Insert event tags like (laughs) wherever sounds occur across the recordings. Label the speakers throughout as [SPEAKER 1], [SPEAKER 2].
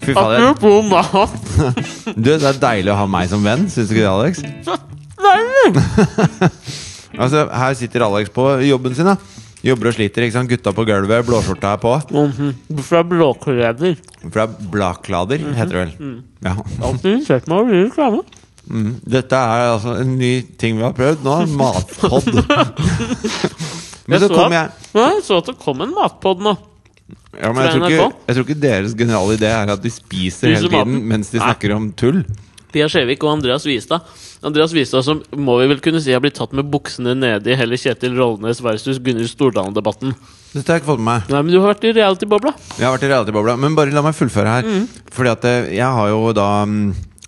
[SPEAKER 1] Fy fader.
[SPEAKER 2] Apropos mat.
[SPEAKER 1] Du, det er deilig å ha meg som venn, syns du ikke det, Alex? Altså, her sitter Alex på jobben sin, da. Jobber og sliter, ikke sant. Gutta på gulvet, blåskjorta er på.
[SPEAKER 2] Fra blåkleder.
[SPEAKER 1] Fra Blaklader, heter det vel. Ja.
[SPEAKER 2] Alltid sett meg over i reklame.
[SPEAKER 1] Mm. Dette er altså en ny ting vi har prøvd nå. Matpod. (laughs) men så
[SPEAKER 2] så
[SPEAKER 1] kom (laughs) jeg
[SPEAKER 2] Ja, jeg så at det kom en matpod nå.
[SPEAKER 1] ja, men jeg, tror ikke, jeg tror ikke deres geniale idé er at de spiser hele
[SPEAKER 2] Spiser
[SPEAKER 1] tiden
[SPEAKER 2] maten.
[SPEAKER 1] mens de
[SPEAKER 2] Nei.
[SPEAKER 1] snakker om tull.
[SPEAKER 2] Pia Skjevik og Andreas Vistad. Andreas Vistad som må vi vel kunne si har blitt tatt med buksene nede i hele Kjetil Rollnes versus Gunnhild Stordalen-debatten.
[SPEAKER 1] Dette har jeg ikke fått med meg.
[SPEAKER 2] Nei, men du har vært i reality-bobla.
[SPEAKER 1] Jeg har vært i reality-bobla, men bare la meg fullføre her.
[SPEAKER 2] Mm.
[SPEAKER 1] Fordi at eh, jeg har jo da mm,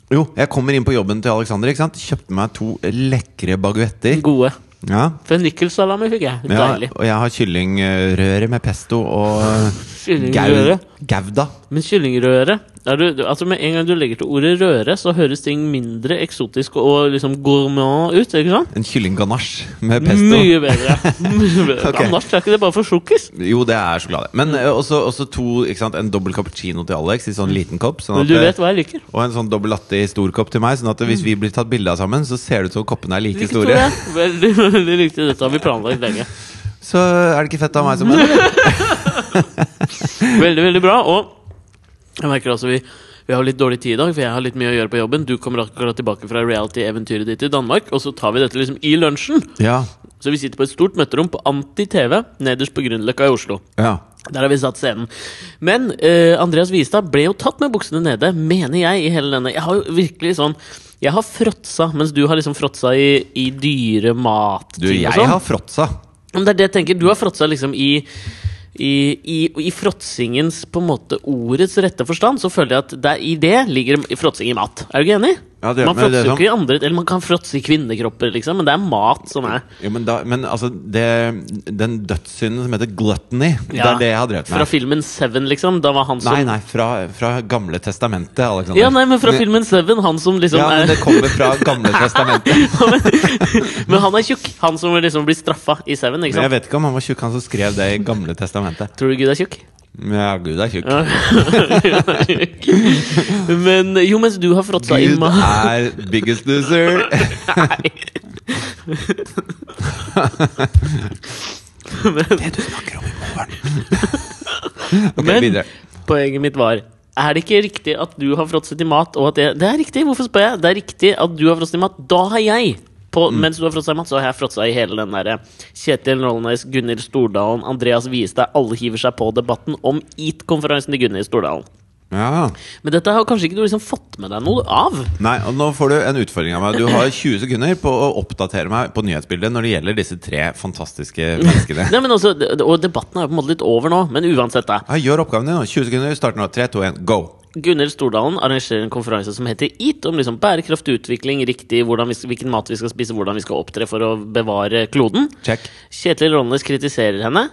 [SPEAKER 1] Jo, jeg kommer inn på jobben til Alexander. Ikke sant? Kjøpte meg to lekre baguetter.
[SPEAKER 2] Gode.
[SPEAKER 1] Ja,
[SPEAKER 2] Fennikelsalami fikk jeg.
[SPEAKER 1] ja,
[SPEAKER 2] Deilig.
[SPEAKER 1] og jeg har kyllingrøre med pesto og eh,
[SPEAKER 2] Kyllingrøre.
[SPEAKER 1] gau- gouda.
[SPEAKER 2] Men kyllingrøre er du, du- altså Med en gang du legger til ordet røre, så høres ting mindre eksotisk og liksom gourmand ut. ikke sant?
[SPEAKER 1] En kyllingganache med pesto.
[SPEAKER 2] Mye
[SPEAKER 1] (laughs)
[SPEAKER 2] bedre. Mye bedre.
[SPEAKER 1] Ok.
[SPEAKER 2] Annars er ikke det bare for sjokkis.
[SPEAKER 1] Jo, det er sjokolade. Men eh, også, også to, ikke sant? en dobbel cappuccino til Alex i sånn liten kopp. Sånn
[SPEAKER 2] Mm. Men
[SPEAKER 1] at,
[SPEAKER 2] du
[SPEAKER 1] eh,
[SPEAKER 2] vet Mm. hva jeg liker.
[SPEAKER 1] Og en sånn dobbel latte i stor kopp til meg. Sånn at hvis vi blir tatt bilde av sammen, så ser det ut som koppene er like,
[SPEAKER 2] Like
[SPEAKER 1] store.
[SPEAKER 2] store. Veldig, veldig riktig. Dette har vi planlagt lenge.
[SPEAKER 1] Så er det ikke fett av meg som
[SPEAKER 2] Mm.
[SPEAKER 1] venn.
[SPEAKER 2] Veldig, veldig bra. Og jeg merker altså vi, vi har litt dårlig tid i dag, for jeg har litt mye å gjøre på jobben. Du kommer akkurat tilbake fra reality-eventyret ditt i Danmark, og så tar vi dette liksom i lunsjen.
[SPEAKER 1] Ja,
[SPEAKER 2] Så vi sitter på et stort møterom på Anti-TV nederst på Grünerløkka i Oslo.
[SPEAKER 1] ja.
[SPEAKER 2] Der har vi satt scenen. Men eh, Andreas Vistad ble jo tatt med buksene nede, mener jeg, i hele denne. Jeg har jo virkelig sånn Jeg har fråtsa, mens du har liksom fråtsa i, i dyre matting
[SPEAKER 1] Du, jeg
[SPEAKER 2] og sånn.
[SPEAKER 1] har fråtsa.
[SPEAKER 2] Men det er det jeg tenker. Du har fråtsa liksom i i, i, I fråtsingens på en måte ordets rette forstand så føler jeg at det, er- i det ligger fråtsing i mat. Er du ikke enig?
[SPEAKER 1] Ja, det-
[SPEAKER 2] man
[SPEAKER 1] men det er sånn-
[SPEAKER 2] fråtser jo
[SPEAKER 1] sant.
[SPEAKER 2] ikke i andre Eller man kan fråtse i kvinnekropper, liksom, men det er mat som er
[SPEAKER 1] Jo, men, da, men altså, det, den dødssynden som heter gluttony, det
[SPEAKER 2] Ja,
[SPEAKER 1] er det jeg har drevet
[SPEAKER 2] Fra
[SPEAKER 1] med.
[SPEAKER 2] filmen Seven, liksom. Da var han som
[SPEAKER 1] Nei, nei, fra, fra Gamle testamentet, Alexander.
[SPEAKER 2] Ja, nei, men fra filmen Seven, han som liksom
[SPEAKER 1] Ja, men
[SPEAKER 2] er
[SPEAKER 1] det kommer fra
[SPEAKER 2] (laughs)
[SPEAKER 1] Gamle testamentet.
[SPEAKER 2] Men (laughs) han er tjukk. Han som liksom blir straffa i Seven.
[SPEAKER 1] Men jeg
[SPEAKER 2] ikke sant?
[SPEAKER 1] vet ikke om han var tjukk, han som skrev det i Gamle testamentet.
[SPEAKER 2] Tror du Gud er tjukk?
[SPEAKER 1] Ja, Gud er tjukk.
[SPEAKER 2] (laughs) Men jo, mens du har fråtsa i
[SPEAKER 1] Gud
[SPEAKER 2] mat
[SPEAKER 1] er biggest loser. (laughs)
[SPEAKER 2] (laughs)
[SPEAKER 1] Det du snakker om i morgen.
[SPEAKER 2] (laughs)
[SPEAKER 1] Ok,
[SPEAKER 2] Men-
[SPEAKER 1] videre.
[SPEAKER 2] Poenget mitt var er det ikke riktig at du har fråtset i mat? Og at jeg, det er riktig! Hvorfor spør jeg? Det er riktig at du har fråtset i mat. Da har jeg! På, Mens du har fråtsa i mat, så har jeg fråtsa i hele den derre Kjetil Rollnes, Gunhild Stordalen, Andreas Wiestad. Alle hiver seg på debatten om EAT-konferansen til Gunhild Stordalen.
[SPEAKER 1] Ja.
[SPEAKER 2] Men dette har kanskje ikke du liksom fått med deg noe av?
[SPEAKER 1] Nei, og nå får du en utfordring av meg. Du har 20 sekunder på å oppdatere meg på nyhetsbildet når det gjelder disse tre fantastiske
[SPEAKER 2] (laughs)
[SPEAKER 1] menneskene.
[SPEAKER 2] Nei, men altså, det- Og debatten er jo på en måte litt over nå, men uansett, da.
[SPEAKER 1] Ja, gjør oppgaven din nå. 20 sekunder. Start nå. 3, 2, 1, go!
[SPEAKER 2] Gunhild Stordalen arrangerer en konferanse som heter EAT, om liksom bærekraftig utvikling, riktig hvordan vi, hvilken mat vi skal spise, hvordan vi skal opptre for å bevare kloden.
[SPEAKER 1] Check.
[SPEAKER 2] Kjetil Rollnes kritiserer henne.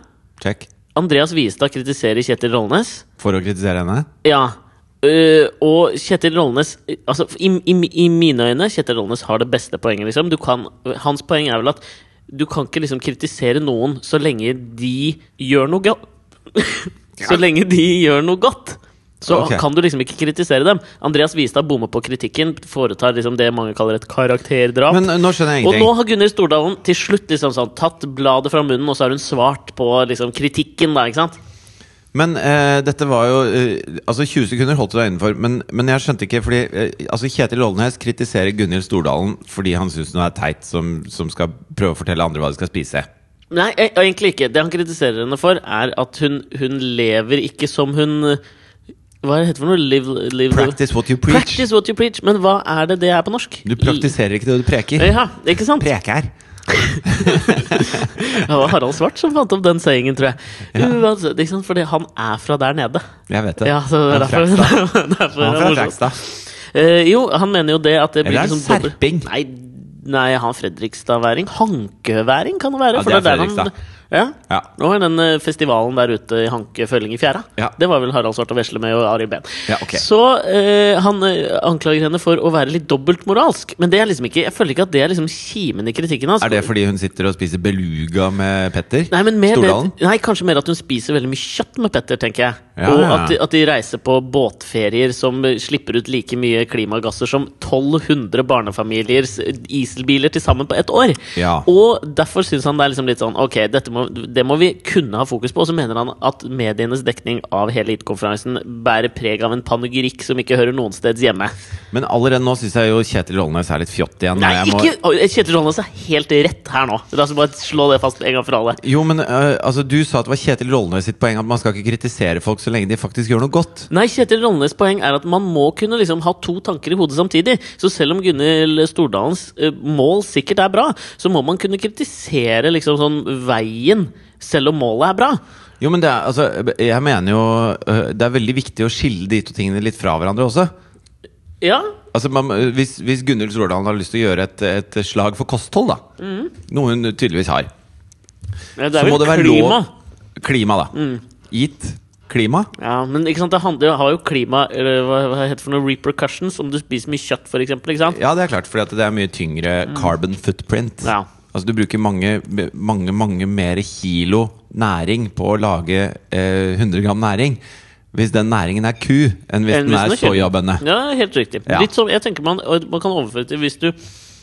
[SPEAKER 1] Check.
[SPEAKER 2] Andreas Wiestad kritiserer Kjetil Rollnes.
[SPEAKER 1] For å kritisere henne.
[SPEAKER 2] Ja. øh, og Kjetil Rollnes Altså, i, i, i mine øyne Kjetil Rollnes har det beste poenget, liksom. Du kan, hans poeng er vel at du kan ikke liksom kritisere noen så lenge de gjør noe godt. (laughs) så lenge de gjør noe godt. Så
[SPEAKER 1] Ok.
[SPEAKER 2] kan du liksom ikke kritisere dem. Andreas Vistad bommer på kritikken, foretar liksom det mange kaller et karakterdrap.
[SPEAKER 1] Men eh, nå skjønner jeg
[SPEAKER 2] Og nå
[SPEAKER 1] ingenting.
[SPEAKER 2] har Gunnhild Stordalen til slutt liksom sånn, tatt bladet fra munnen, og så har hun svart på liksom, kritikken. Da, ikke sant?
[SPEAKER 1] Men eh, dette var jo eh, Altså, 20 sekunder holdt du deg innenfor, men, men jeg skjønte ikke fordi eh, Altså, Kjetil Oldenes kritiserer Gunhild Stordalen fordi han syns hun er teit som, som skal prøve å fortelle andre hva de skal spise.
[SPEAKER 2] Nei, e- egentlig ikke. Det han kritiserer henne for, er at hun, hun lever ikke som hun Hva er det heter for noe? Live, live
[SPEAKER 1] Practice what you preach.
[SPEAKER 2] Practice what you preach. Men hva er det det er på norsk?
[SPEAKER 1] Du praktiserer ikke det du preker.
[SPEAKER 2] Ja, ikke sant?
[SPEAKER 1] Preker.
[SPEAKER 2] Det var Harald Svart som fant opp den sayingen, tror jeg. Uansett, ikke sant? Fordi han er fra der nede.
[SPEAKER 1] Jeg vet det.
[SPEAKER 2] Ja, så (laughs) det er
[SPEAKER 1] Han er fra
[SPEAKER 2] derfor,
[SPEAKER 1] Krekstad.
[SPEAKER 2] derfor
[SPEAKER 1] Han
[SPEAKER 2] er
[SPEAKER 1] er fra
[SPEAKER 2] morsomt.
[SPEAKER 1] Krekstad.
[SPEAKER 2] Eh, jo, han mener jo det at det blir
[SPEAKER 1] Eller er det
[SPEAKER 2] liksom dobbelt-
[SPEAKER 1] serping?
[SPEAKER 2] Nei, nei, han Fredrikstadværing. Hankøværing kan det være.
[SPEAKER 1] Ja,
[SPEAKER 2] for
[SPEAKER 1] det er
[SPEAKER 2] det er der han
[SPEAKER 1] Fredrikstad.
[SPEAKER 2] Ja.
[SPEAKER 1] Ja.
[SPEAKER 2] Nå er den eh, festivalen der ute i Hanke Følling i fjæra.
[SPEAKER 1] Ja.
[SPEAKER 2] Det var vel Harald Svarte Vesle med og Ari Behn.
[SPEAKER 1] Ja, ok.
[SPEAKER 2] Så eh, han eh, anklager henne for å være litt dobbeltmoralsk. Men det er liksom ikke, jeg føler ikke at det er liksom kimen i kritikken hans.
[SPEAKER 1] Er det fordi hun sitter og spiser beluga med Petter?
[SPEAKER 2] Nei, men mer det,
[SPEAKER 1] Stordalen?
[SPEAKER 2] nei, kanskje mer at hun spiser veldig mye kjøtt med Petter, tenker jeg.
[SPEAKER 1] Ja.
[SPEAKER 2] Og at de, at de reiser på båtferier som eh, slipper ut like mye klimagasser som 1200 barnefamiliers dieselbiler til sammen på ett år.
[SPEAKER 1] Ja.
[SPEAKER 2] Og derfor syns han det er liksom litt sånn Ok, dette må, det må vi kunne ha fokus på. Og så mener han at medienes dekning av hele IT-konferansen bærer preg av en panegyrikk som ikke hører noen steds hjemme.
[SPEAKER 1] Men allerede nå syns jeg jo Kjetil Rollnes er litt fjott igjen. og
[SPEAKER 2] Nei,
[SPEAKER 1] jeg må-
[SPEAKER 2] ikke Oi, Kjetil Rollnes er helt rett her nå. La oss bare slå det fast en gang for alle.
[SPEAKER 1] Jo, men øh, altså, Du sa at det var Kjetil Rollnes sitt poeng at man skal ikke kritisere folk så lenge de faktisk gjør noe godt.
[SPEAKER 2] Nei, Kjetil Rollnes poeng er at man må kunne liksom ha to tanker i hodet samtidig. Så selv om Gunhild Stordalens eh, mål sikkert er bra, så må man kunne kritisere liksom sånn veien, selv om målet er bra.
[SPEAKER 1] Jo, men det er, altså, jeg mener jo øh, Det er veldig viktig å skille de to tingene litt fra hverandre også.
[SPEAKER 2] Ja,
[SPEAKER 1] Altså, man, Hvis, hvis Gunhild Stordalen har lyst til å gjøre et, et slag for kosthold, da,
[SPEAKER 2] Mm.
[SPEAKER 1] noe hun tydeligvis har,
[SPEAKER 2] det er vel klima.
[SPEAKER 1] klima. Klima, da.
[SPEAKER 2] Mm.
[SPEAKER 1] Gitt klima.
[SPEAKER 2] Ja, men ikke sant, det, handler, det har jo klima eller hva, hva heter det for noe repercussions om du spiser mye kjøtt, for eksempel, ikke sant?
[SPEAKER 1] Ja, det er klart, fordi at det er mye tyngre carbon footprint.
[SPEAKER 2] Mm. Ja.
[SPEAKER 1] Altså, du bruker mange, mange, mange mer kilo næring på å lage eh, 100 gram næring. Hvis den næringen er ku, enn hvis
[SPEAKER 2] Enn
[SPEAKER 1] den er
[SPEAKER 2] hvis den er kjøtt.
[SPEAKER 1] soyabønne.
[SPEAKER 2] Eh, Ja, helt riktig.
[SPEAKER 1] Ja.
[SPEAKER 2] Litt som, jeg tenker man, og man kan overføre til hvis du,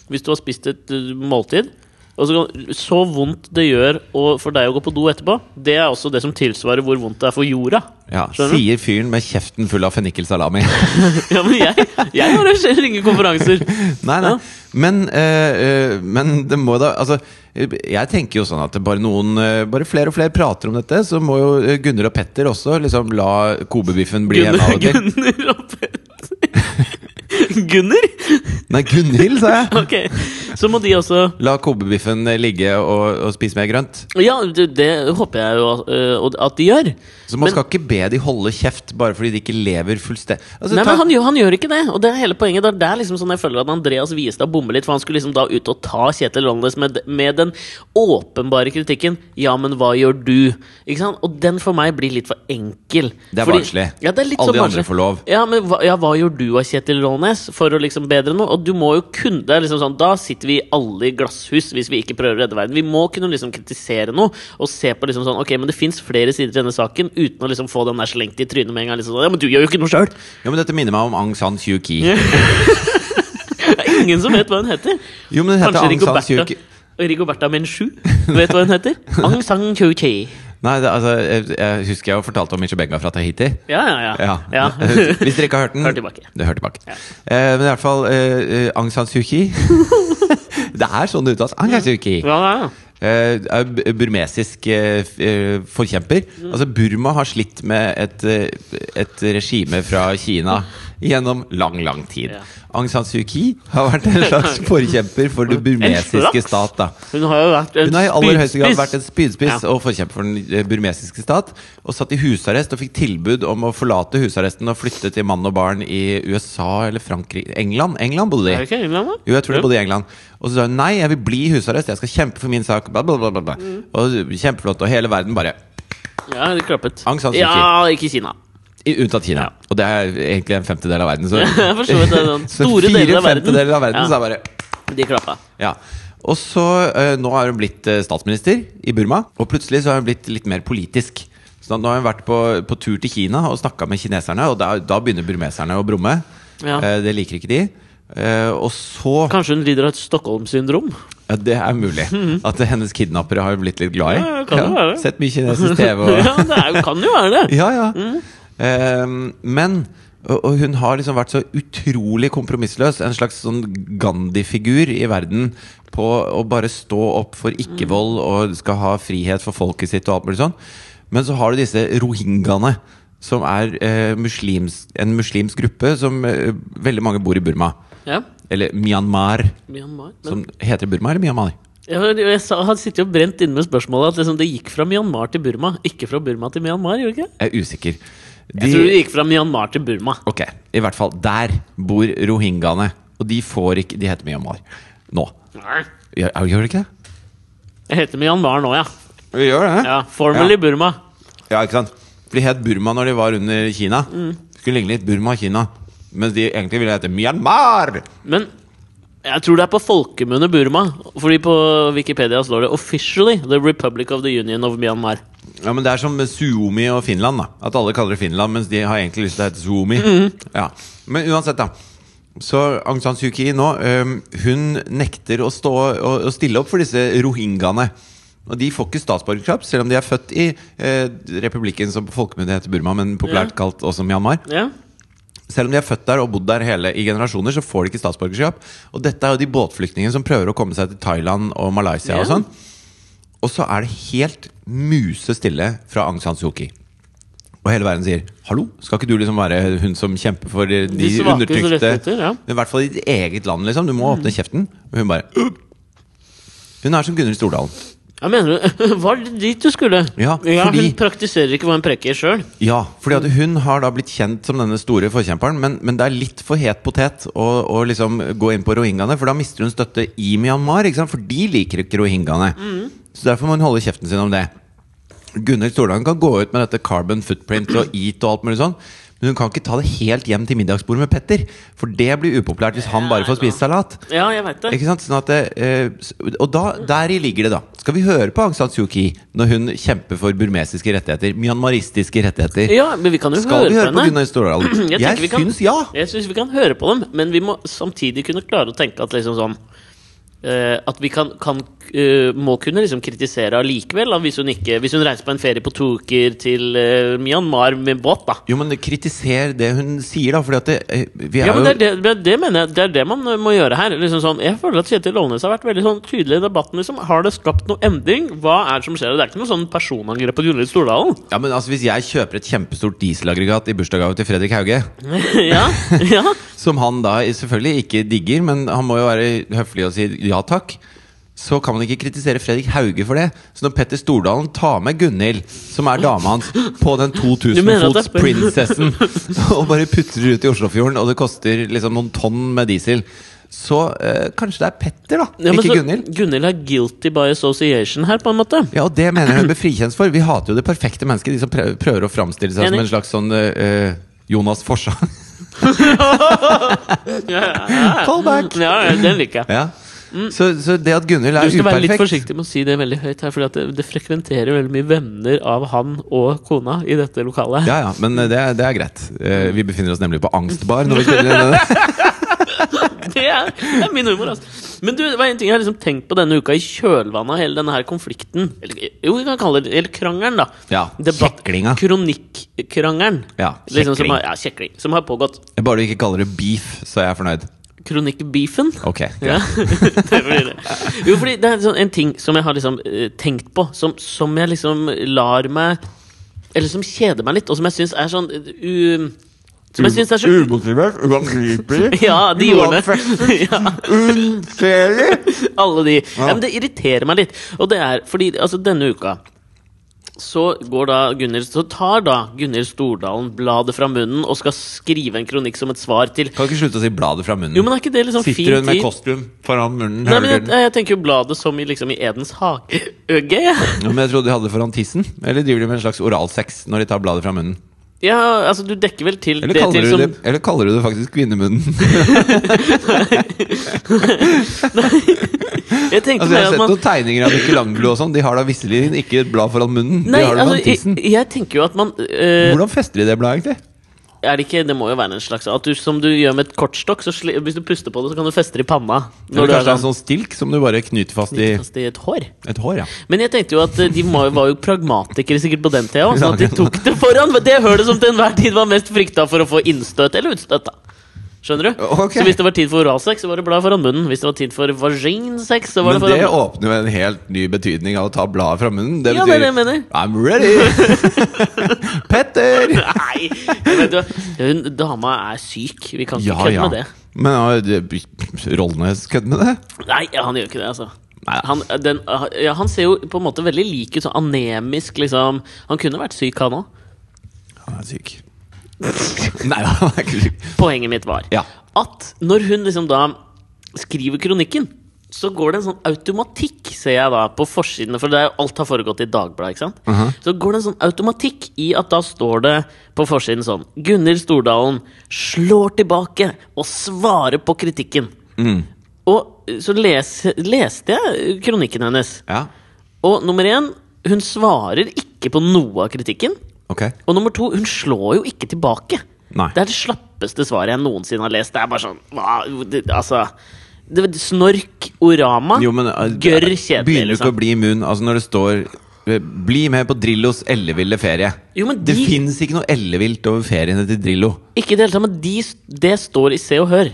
[SPEAKER 2] hvis du har spist et uh, måltid og så, kan, så vondt det gjør å- for deg å gå på do etterpå, det er også det som tilsvarer hvor vondt det er for jorda. (laughs)
[SPEAKER 1] Ja,
[SPEAKER 2] Skjønner du?
[SPEAKER 1] sier fyren med kjeften full av fennikelsalami. (laughs)
[SPEAKER 2] Ja, men jeg, jeg arrangerer ingen konferanser.
[SPEAKER 1] Nei, nei.
[SPEAKER 2] Ja.
[SPEAKER 1] Men, eh, eh, men det må da Altså, eh, jeg tenker jo sånn at det bare noen eh, Bare flere og flere prater om dette, så må jo eh, Gunnar og Petter også liksom la kobebiffen bli en
[SPEAKER 2] Gunnar,
[SPEAKER 1] av og til.
[SPEAKER 2] Gunnar og Petter. (laughs) Gunnar?
[SPEAKER 1] Nei, Gunhild, sa
[SPEAKER 2] (laughs)
[SPEAKER 1] jeg!
[SPEAKER 2] Ok. Så må de også
[SPEAKER 1] La kobebiffen eh, ligge og, og spise mer grønt.
[SPEAKER 2] Ja, det, det håper jeg jo uh, og- at de gjør.
[SPEAKER 1] Så man
[SPEAKER 2] Men-
[SPEAKER 1] skal ikke be de holde kjeft bare fordi de ikke lever fullstendig altså,
[SPEAKER 2] Nei,
[SPEAKER 1] ta-
[SPEAKER 2] men han, gjør- han gjør ikke det, og det er hele poenget. Det er der liksom sånn jeg føler at Andreas Wiestad bommer litt, for han skulle liksom da ut og ta Kjetil Rollnes med, med den åpenbare kritikken 'ja, men hva gjør du?' Ikke sant? Og den for meg blir litt for enkel.
[SPEAKER 1] Det er
[SPEAKER 2] Fordi-
[SPEAKER 1] barnslig.
[SPEAKER 2] Ja, det er litt
[SPEAKER 1] Alle
[SPEAKER 2] sånn
[SPEAKER 1] de andre
[SPEAKER 2] barnslig.
[SPEAKER 1] får lov.
[SPEAKER 2] Ja, men hva, ja, hva gjør du av Kjetil Rollnes for å liksom bedre noe? Og du må jo kunne det er liksom sånn, Da sitter vi alle i glasshus hvis vi ikke prøver å redde verden. Vi må kunne liksom kritisere noe og se på liksom sånn Ok, men det fins flere sider til denne saken uten å liksom få den der slengt i trynet med en gang. Liksom sånn, ja, men du gjør jo ikke noe sjøl!
[SPEAKER 1] Jo, men Dette minner meg om Aung San Suu Kyi.
[SPEAKER 2] Det er ingen som vet hva hun heter.
[SPEAKER 1] Jo, men hun heter
[SPEAKER 2] Kanskje
[SPEAKER 1] Aung San Suu
[SPEAKER 2] Rigoberta,
[SPEAKER 1] Kyi
[SPEAKER 2] Rigoberta Menchu vet hva hun
[SPEAKER 1] (laughs)
[SPEAKER 2] heter? Aung San Suu Kyi.
[SPEAKER 1] Nei, det, altså, jeg, jeg husker jeg fortalte om Michebega fra Tahiti.
[SPEAKER 2] Ja, ja, ja.
[SPEAKER 1] Ja. (laughs) Hvis dere ikke har hørt den
[SPEAKER 2] Hør tilbake.
[SPEAKER 1] Det hører tilbake. Eh, men i hvert fall eh, eh, Aung San Suu Kyi (laughs) Det er sånn det uttales. Aung San Suu Kyi.
[SPEAKER 2] ja, ja.
[SPEAKER 1] Eh, er bu- burmesisk eh, f- eh, forkjemper.
[SPEAKER 2] Mm.
[SPEAKER 1] Altså Burma har slitt med et, eh, et regime fra Kina gjennom lang, lang tid.
[SPEAKER 2] Ja.
[SPEAKER 1] Aung San Suu Kyi har vært en
[SPEAKER 2] (laughs)
[SPEAKER 1] slags forkjemper for det burmesiske
[SPEAKER 2] slags?
[SPEAKER 1] stat. da
[SPEAKER 2] Hun har jo vært en
[SPEAKER 1] hun har i aller høyeste grad vært en
[SPEAKER 2] spydspiss.
[SPEAKER 1] spydspiss
[SPEAKER 2] Ja.
[SPEAKER 1] og forkjemper for den eh, burmesiske stat. Og satt i husarrest og fikk tilbud om å forlate husarresten og flytte til mann og barn i USA eller Frankrike England England bodde de.
[SPEAKER 2] Er det ikke England, da?
[SPEAKER 1] Jo, jeg tror de bodde i England. Og så sa hun nei, jeg vil bli i husarrest, jeg skal kjempe for min sak. Bla, bla, bla, bla. bla.
[SPEAKER 2] Mm.
[SPEAKER 1] Og kjempeflott. Og hele verden bare
[SPEAKER 2] Ja, de klappet.
[SPEAKER 1] Aung San Suu Kyi.
[SPEAKER 2] Ja, ikke Kina.
[SPEAKER 1] i- Unntatt Kina. Og det er egentlig en femtedel av verden. Så,
[SPEAKER 2] (laughs) Jeg forstår at det er
[SPEAKER 1] (laughs)
[SPEAKER 2] sånn
[SPEAKER 1] så
[SPEAKER 2] store deler
[SPEAKER 1] fire
[SPEAKER 2] av verden.
[SPEAKER 1] femtedeler av verden,
[SPEAKER 2] Ja.
[SPEAKER 1] så er bare
[SPEAKER 2] De klappa.
[SPEAKER 1] Ja. Og så, eh, nå har hun blitt eh, statsminister i Burma, og plutselig så har hun blitt litt mer politisk. Så nå har hun vært på, på tur til Kina og snakka med kineserne, og da, da begynner burmeserne å brumme.
[SPEAKER 2] Ja.
[SPEAKER 1] Eh, det liker ikke de. Eh, og så
[SPEAKER 2] Kanskje hun lider av et Stockholm-syndrom?
[SPEAKER 1] ja, Det er mulig at hennes kidnappere har hun blitt litt glad i.
[SPEAKER 2] Mhm. Ja, det kan jo være.
[SPEAKER 1] Sett mye
[SPEAKER 2] (laughs)
[SPEAKER 1] kinesisk TV og
[SPEAKER 2] Ja, Mhm. det er, jo- kan jo være det.
[SPEAKER 1] Ja, ja. Eh, men og, og hun har liksom vært så utrolig kompromissløs. En slags sånn Gandhi-figur i verden på å bare stå opp for
[SPEAKER 2] Mhm.
[SPEAKER 1] ikke-vold og skal ha frihet for folket sitt og alt mulig sånn. Men så har du disse rohingyaene, som er eh, muslims, en muslimsk gruppe som eh, veldig mange bor i Burma.
[SPEAKER 2] Ja.
[SPEAKER 1] Eller Myanmar,
[SPEAKER 2] Myanmar. Men,
[SPEAKER 1] som heter det Burma eller Myanmar?
[SPEAKER 2] jeg, har- jeg sa, han sitter jo brent inne med spørsmålet at liksom, det gikk fra Myanmar til Burma. Ikke fra Burma til Myanmar, gjorde det ikke?
[SPEAKER 1] Jeg er usikker. De-
[SPEAKER 2] Jeg tror det gikk fra Myanmar til Burma.
[SPEAKER 1] Ok, i hvert fall der bor rohingyaene. Og de får ikke De heter Myanmar nå.
[SPEAKER 2] Nei.
[SPEAKER 1] Gjør, gjør de ikke det?
[SPEAKER 2] Jeg heter Myanmar nå, ja.
[SPEAKER 1] Vi gjør det.
[SPEAKER 2] Ja, Formally Burma.
[SPEAKER 1] Ja, ikke sant? For de het Burma når de var under Kina. Skulle ligne litt Burma og Kina. Mens de egentlig ville hete Myanmar!
[SPEAKER 2] Men jeg tror det er på folkemunne Burma. Fordi på Wikipedia står det 'Officially the Republic of the Union of Myanmar'.
[SPEAKER 1] Ja, men Det er som med Suomi og Finland. da At alle kaller det Finland, mens de har egentlig lyst til å hete Suomi. Ja. Men uansett, da. Så Aung San Suu Kyi nå øhm, Hun nekter å, stå, å, å stille opp for disse rohingyaene. Og de får ikke statsborgerskap, selv om de er født i eh, republikken som på folkemunne heter Burma, men populært kalt også Myanmar.
[SPEAKER 2] Ja.
[SPEAKER 1] Selv om de er født der og bodd der hele i generasjoner, så får de ikke statsborgerskap. Og dette er jo de båtflyktningene som prøver å komme seg til Thailand og Malaysia og
[SPEAKER 2] Ja.
[SPEAKER 1] sånn. Og så er det helt musestille fra Aung San Suu Kyi. Og hele verden sier 'hallo, skal ikke du liksom være hun som kjemper for de, de
[SPEAKER 2] svakes
[SPEAKER 1] undertrykte'
[SPEAKER 2] rettigheter, ja. Mm.
[SPEAKER 1] I hvert fall i ditt eget land, liksom. Du må åpne kjeften. Og hun bare (gasps) «Øh». Hun er som Gunhild Stordalen.
[SPEAKER 2] Jeg mener du, (laughs) Var det dit du skulle?
[SPEAKER 1] Ja, fordi-
[SPEAKER 2] Hun praktiserer ikke hva hun preker sjøl.
[SPEAKER 1] Ja, fordi at hun har da blitt kjent som denne store forkjemperen, men, men det er litt for het potet å, å liksom gå inn på rohingyaene, for da mister hun støtte i Myanmar, ikke sant? for de liker ikke rohingyaene. Så derfor må hun holde kjeften sin om det. Gunnhild Stordalen kan gå ut med dette carbon footprint og eat og alt mulig sånn, men hun kan ikke ta det helt hjem til middagsbordet med Petter, for det blir upopulært hvis han bare får spise salat.
[SPEAKER 2] Ja, jeg veit det.
[SPEAKER 1] Ikke sant? Sånn at det, eh, s- og da, deri ligger det, da. Skal vi høre på Aung San Suu Kyi når hun kjemper for burmesiske rettigheter? Myanmaristiske rettigheter?
[SPEAKER 2] Ja, men vi kan jo
[SPEAKER 1] Skal vi
[SPEAKER 2] høre
[SPEAKER 1] høre
[SPEAKER 2] på
[SPEAKER 1] på
[SPEAKER 2] henne.
[SPEAKER 1] Gunnar Stordalen?
[SPEAKER 2] (clears throat) Mm, Jeg
[SPEAKER 1] Jeg,
[SPEAKER 2] tenker vi kan-
[SPEAKER 1] syns ja!
[SPEAKER 2] Jeg syns vi kan høre på dem, men vi må samtidig kunne klare å tenke at liksom sånn eh, At vi kan, kan eh, må kunne liksom kritisere allikevel, da, hvis hun ikke Hvis hun reiser på en ferie på to uker til eh, Myanmar med båt, da.
[SPEAKER 1] Jo, men kritiser det hun sier, da. Fordi at det, eh, vi er
[SPEAKER 2] Ja, men det,
[SPEAKER 1] jo
[SPEAKER 2] er det, det- det mener jeg Det er det man må gjøre her. Liksom sånn, jeg føler at Kjetil Lovnes har vært veldig sånn tydelig i debatten. Liksom. Har det skapt noe endring? Hva er det som skjer? Det er ikke noe sånn personangrep på Gunhild Stordalen. (laughs)
[SPEAKER 1] ja, men altså Hvis jeg kjøper et kjempestort dieselaggregat i bursdagsgave til Fredrik Hauge,
[SPEAKER 2] ja,
[SPEAKER 1] (laughs)
[SPEAKER 2] ja.
[SPEAKER 1] som han da selvfølgelig ikke digger, men han må jo være høflig og si ja takk, så kan man ikke kritisere Fredrik Hauge for det. Så når Petter Stordalen tar med Gunhild, som er dama hans, på den 2000
[SPEAKER 2] (laughs) Du mener at
[SPEAKER 1] fots
[SPEAKER 2] det er-
[SPEAKER 1] prinsessen (laughs) og bare putter det ut i Oslofjorden, og det koster liksom noen tonn med diesel, så eh, kanskje det er Petter, da.
[SPEAKER 2] ja men
[SPEAKER 1] ikke
[SPEAKER 2] så-
[SPEAKER 1] Gunhild.
[SPEAKER 2] Gunhild er guilty by association her, på en måte.
[SPEAKER 1] Ja, og det mener jeg hun bør frikjennes for. Vi hater jo det perfekte mennesket, de som prøver, prøver å framstille seg som
[SPEAKER 2] Enig.
[SPEAKER 1] en slags sånn eh, Jonas Forsang.
[SPEAKER 2] Ja, ja,
[SPEAKER 1] Callback!
[SPEAKER 2] Mm, ja, ja, den liker jeg.
[SPEAKER 1] (laughs) Ja. Så, så det at Gunhild
[SPEAKER 2] Du
[SPEAKER 1] er
[SPEAKER 2] skal være litt
[SPEAKER 1] uperfekt
[SPEAKER 2] forsiktig med å si det veldig høyt her, for det, det frekventerer veldig mye venner av han og kona i dette lokalet.
[SPEAKER 1] ja, ja, men eh, det er, det er greit. Eh, vi befinner oss nemlig på angstbar. Når vi spiller denne.
[SPEAKER 2] (laughs) (laughs) Det er, det er min humor, altså. Men du, det var en ting jeg har liksom tenkt på denne uka i kjølvannet av hele denne her konflikten. Eller, jo, vi kan kalle det Eller krangelen, da.
[SPEAKER 1] Ja,
[SPEAKER 2] Debatt-
[SPEAKER 1] kjeklinga.
[SPEAKER 2] Kronikkrangelen.
[SPEAKER 1] Ja,
[SPEAKER 2] liksom, som
[SPEAKER 1] kjekling.
[SPEAKER 2] har, ja, kjekling. Som har pågått.
[SPEAKER 1] Bare du ikke kaller det beef, så er jeg fornøyd.
[SPEAKER 2] Kronikkbeefen.
[SPEAKER 1] Ok,
[SPEAKER 2] Ja. (laughs)
[SPEAKER 1] greit.
[SPEAKER 2] det blir det. Jo, fordi det er sånn en ting som jeg har liksom eh, tenkt på, som, som jeg liksom lar meg Eller som kjeder meg litt, og som jeg syns er sånn eh, u... Som jeg syns er så
[SPEAKER 1] Umotivert, uangripelig,
[SPEAKER 2] (laughs) Ja, de ordene. (laughs) ja.
[SPEAKER 1] unnfjelig.
[SPEAKER 2] Alle de. Ja. men det irriterer meg litt. Og det er fordi altså, denne uka så, går da Gunnhild- så tar da Gunhild Stordalen bladet fra munnen og skal skrive en kronikk som et svar til
[SPEAKER 1] Kan ikke slutte å si bladet fra munnen.
[SPEAKER 2] Jo, men er ikke det liksom
[SPEAKER 1] Sitter hun
[SPEAKER 2] fint
[SPEAKER 1] med
[SPEAKER 2] i-
[SPEAKER 1] kostrøm foran munnen?
[SPEAKER 2] Nei, men
[SPEAKER 1] hører
[SPEAKER 2] jeg, eh,
[SPEAKER 1] du den?
[SPEAKER 2] jeg tenker jo bladet som i, liksom, i Edens hage. Øgge, ja.
[SPEAKER 1] Ja, men jeg trodde de hadde det foran tissen. Eller driver de med en slags oralsex når de tar bladet fra munnen?
[SPEAKER 2] ja, altså du dekker vel til
[SPEAKER 1] Eller kaller,
[SPEAKER 2] til
[SPEAKER 1] du det, eller kaller du det faktisk kvinnemunnen?
[SPEAKER 2] Jeg tenkte
[SPEAKER 1] altså, jeg
[SPEAKER 2] mer
[SPEAKER 1] har
[SPEAKER 2] at
[SPEAKER 1] sett
[SPEAKER 2] man
[SPEAKER 1] noen tegninger av Michelangelo og sånn. De har da visselig ikke et blad foran munnen.
[SPEAKER 2] Nei,
[SPEAKER 1] de har det
[SPEAKER 2] altså,
[SPEAKER 1] foran tissen.
[SPEAKER 2] jeg, jeg tenker jo at man eh,
[SPEAKER 1] Hvordan fester de det bladet, egentlig?
[SPEAKER 2] er det, ikke, det må jo være en slags At du, Som du gjør med et kortstokk, så sli, hvis du puster på det, så kan du feste det i panna.
[SPEAKER 1] Eller kanskje
[SPEAKER 2] du
[SPEAKER 1] det er
[SPEAKER 2] sånn-
[SPEAKER 1] en sånn stilk som du bare knyter fast i
[SPEAKER 2] Fast i et hår.
[SPEAKER 1] et hår, ja.
[SPEAKER 2] Men jeg tenkte jo at eh, de må, var jo pragmatikere sikkert på den tida òg, sånn at de tok det foran det hølet som til enhver tid var mest frykta for å få innstøt eller utstøt. da Skjønner du?
[SPEAKER 1] Ok.
[SPEAKER 2] Så hvis det var tid for oralsex, så var det bladet foran munnen. Hvis det var tid for vaginsex, så var
[SPEAKER 1] Men
[SPEAKER 2] det
[SPEAKER 1] det
[SPEAKER 2] foran munnen. (laughs)
[SPEAKER 1] åpner jo en helt ny betydning av å ta bladet fra munnen. Det
[SPEAKER 2] Ja,
[SPEAKER 1] betyr
[SPEAKER 2] det er det jeg mener.
[SPEAKER 1] I'm
[SPEAKER 2] (laughs)
[SPEAKER 1] ready! Petter!
[SPEAKER 2] Nei! Vet du, hva? hun dama er syk. Vi kan ikke
[SPEAKER 1] Ja,
[SPEAKER 2] kødde
[SPEAKER 1] ja.
[SPEAKER 2] med det.
[SPEAKER 1] Men ja, det- Rollnes kødder med det?
[SPEAKER 2] Nei, ja, han gjør ikke det, altså.
[SPEAKER 1] Nei.
[SPEAKER 2] Han, den, ja, han ser jo på en måte veldig lik ut, sånn anemisk, liksom. Han kunne vært syk, han òg.
[SPEAKER 1] Han er syk.
[SPEAKER 2] (laughs)
[SPEAKER 1] Nei da, han er ikke syk.
[SPEAKER 2] Poenget mitt var
[SPEAKER 1] Ja.
[SPEAKER 2] at når hun liksom da skriver kronikken, så går det en sånn automatikk, ser jeg da, på forsidene, for det er, alt har foregått i Dagbladet, ikke sant? Så går det en sånn automatikk i at da står det på forsiden sånn Gunnhild Stordalen slår tilbake og svarer på kritikken. Og eh, så les, leste jeg kronikken hennes.
[SPEAKER 1] Ja,
[SPEAKER 2] Og nummer én, hun svarer ikke på noe av kritikken.
[SPEAKER 1] ok
[SPEAKER 2] Og nummer to, hun slår jo ikke tilbake.
[SPEAKER 1] Nei.
[SPEAKER 2] Det er det slappeste svaret jeg noensinne har lest. Det er bare sånn hva, det, Altså det, var Snork, Orama,
[SPEAKER 1] Jo, men eh,
[SPEAKER 2] gørr kjedelig.
[SPEAKER 1] Begynner du ikke å
[SPEAKER 2] Liksom.
[SPEAKER 1] bli immun altså når det står eh, 'Bli med på Drillos elleville ferie'?
[SPEAKER 2] Jo, men
[SPEAKER 1] Det
[SPEAKER 2] de-
[SPEAKER 1] fins ikke noe ellevilt over feriene til Drillo.
[SPEAKER 2] Ikke i det hele tatt, men de, det står i Se og Hør.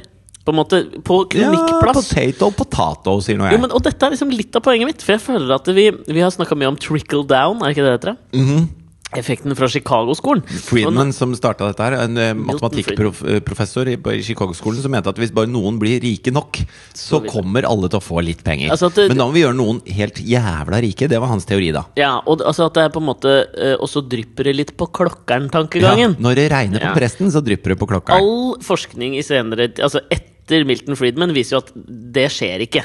[SPEAKER 2] På en måte, på kronikkplass.
[SPEAKER 1] potato, potato, sier nå jeg.
[SPEAKER 2] jo, men, og dette er liksom litt av poenget mitt, for jeg føler at vi, vi har snakka mye om trickle down. Er det ikke det det heter? Effekten fra Chicago-skolen. Og
[SPEAKER 1] Mhm. Friedman, som starta dette her, en eh, matematikkprofessor i, i Chicago-skolen, som mente at hvis bare noen blir rike nok, så
[SPEAKER 2] vil-
[SPEAKER 1] kommer alle til å få litt penger.
[SPEAKER 2] Altså at det-
[SPEAKER 1] Men da må vi gjøre noen helt jævla rike. Det var hans teori, da.
[SPEAKER 2] Ja, og det- altså at det er på en måte eh, også drypper det litt på
[SPEAKER 1] Ja,
[SPEAKER 2] klokkeren-tankegangen.
[SPEAKER 1] når det regner på
[SPEAKER 2] Ja.
[SPEAKER 1] presten, så drypper det på klokka.
[SPEAKER 2] All forskning i senere Altså etter Milton Friedman viser jo at det skjer ikke.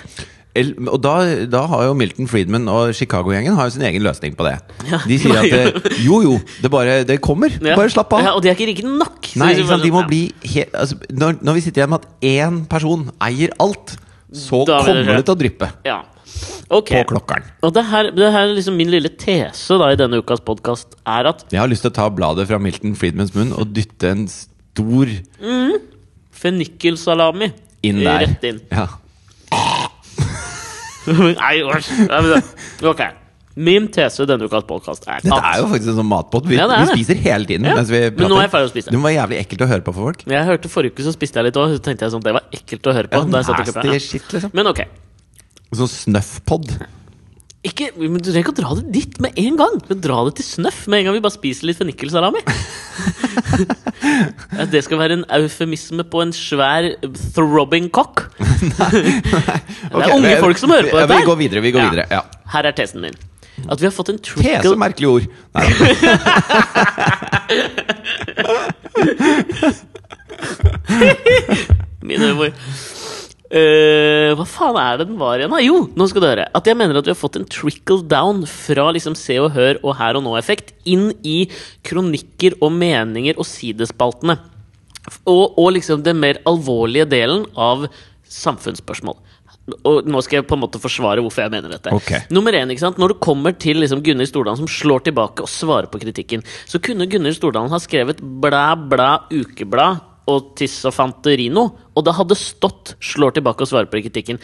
[SPEAKER 1] El- Og da, da har jo Milton Friedman og Chicago-gjengen Har jo sin egen løsning på det.
[SPEAKER 2] Ja.
[SPEAKER 1] De
[SPEAKER 2] (laughs)
[SPEAKER 1] sier at eh, jo, jo, det bare det kommer.
[SPEAKER 2] Ja.
[SPEAKER 1] Bare slapp av.
[SPEAKER 2] Ja, og de er ikke rike nok. så
[SPEAKER 1] Nei, ikke
[SPEAKER 2] hvis vi
[SPEAKER 1] sant?
[SPEAKER 2] bare-
[SPEAKER 1] De må
[SPEAKER 2] ja.
[SPEAKER 1] bli helt, altså, når, når vi sitter igjen med at én person eier alt, så
[SPEAKER 2] Da vil det
[SPEAKER 1] kommer
[SPEAKER 2] skje.
[SPEAKER 1] det til å dryppe
[SPEAKER 2] Ja. Ok.
[SPEAKER 1] på klokkeren.
[SPEAKER 2] Og det her, det her er liksom min lille tese da i denne ukas podkast er at
[SPEAKER 1] Jeg har lyst til å ta bladet fra Milton Friedmans munn og dytte en stor
[SPEAKER 2] fennikelsalami
[SPEAKER 1] inn
[SPEAKER 2] eh,
[SPEAKER 1] der.
[SPEAKER 2] rett inn. (laughs)
[SPEAKER 1] Ja.
[SPEAKER 2] Nei, æsj. Ja, men det- Ok. Min tese i denne ukas podkast er
[SPEAKER 1] Dette
[SPEAKER 2] at
[SPEAKER 1] er jo faktisk en sånn matpott. Vi,
[SPEAKER 2] Ja, det er
[SPEAKER 1] vi
[SPEAKER 2] det.
[SPEAKER 1] spiser hele tiden.
[SPEAKER 2] Ja.
[SPEAKER 1] Mens vi
[SPEAKER 2] Men nå
[SPEAKER 1] prater.
[SPEAKER 2] er jeg ferdig å spise.
[SPEAKER 1] Det må være jævlig ekkelt å høre på for folk.
[SPEAKER 2] Jeg hørte Forrige uke så spiste jeg litt òg, så tenkte jeg sånn, det var ekkelt å høre på.
[SPEAKER 1] Ja,
[SPEAKER 2] da jeg satt og klippet.
[SPEAKER 1] nasty shit, liksom.
[SPEAKER 2] Men ok.
[SPEAKER 1] Sånn snøffpod.
[SPEAKER 2] Ikke, men Du trenger ikke å dra det dit med en gang. Men Dra det til snøff med en gang vi bare spiser litt fennikelsalami. At det skal være en eufemisme på en svær throbbing cock. (laughs) det er unge folk som hører på
[SPEAKER 1] ja,
[SPEAKER 2] dette.
[SPEAKER 1] Vi går videre. vi går
[SPEAKER 2] Ja.
[SPEAKER 1] videre ja.
[SPEAKER 2] Her er tesen min. At vi har fått en
[SPEAKER 1] P, så
[SPEAKER 2] trickle
[SPEAKER 1] merkelig ord. Nei, da.
[SPEAKER 2] Min humor. Eh, hva faen er det den var igjen? da? Jo, nå skal du høre. At jeg mener at vi har fått en trickle down fra liksom Se og Hør og Her og Nå-effekt inn i kronikker og meninger og sidespaltene. F- Og, og liksom den mer alvorlige delen av samfunnsspørsmål. Og nå skal jeg på en måte forsvare hvorfor jeg mener dette.
[SPEAKER 1] Ok.
[SPEAKER 2] Nummer én, ikke sant? Når det kommer til liksom Gunnhild Stordalen som slår tilbake og svarer på kritikken, så kunne Gunnhild Stordalen ha skrevet blæ, blæ, ukeblad og tiss og fanterino, og det hadde stått 'slår tilbake og svarer på kritikken'.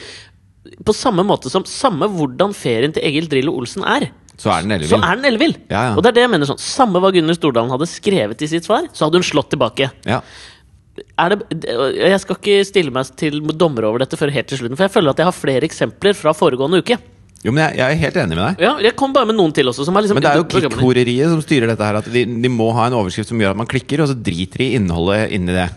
[SPEAKER 2] På samme måte som samme hvordan ferien til Egil Drillo Olsen er.
[SPEAKER 1] Så er den
[SPEAKER 2] Så
[SPEAKER 1] ellevill.
[SPEAKER 2] er den ellevill!
[SPEAKER 1] Ja, ja.
[SPEAKER 2] Og det er det jeg mener sånn. Samme hva Gunnhild Stordalen hadde skrevet i sitt svar, så hadde hun slått tilbake.
[SPEAKER 1] Ja.
[SPEAKER 2] Er det, jeg skal ikke stille meg til dommer over dette før helt til slutten, for jeg føler at jeg har flere eksempler fra foregående uke.
[SPEAKER 1] Jo, men jeg, jeg er helt enig med deg.
[SPEAKER 2] Ja, jeg kom bare med noen til også. Som er liksom
[SPEAKER 1] Men det er jo
[SPEAKER 2] programmet ditt.
[SPEAKER 1] klikkhoreriet som styrer dette her. At de, de må ha en overskrift som gjør at man klikker, og så driter de i innholdet inni det.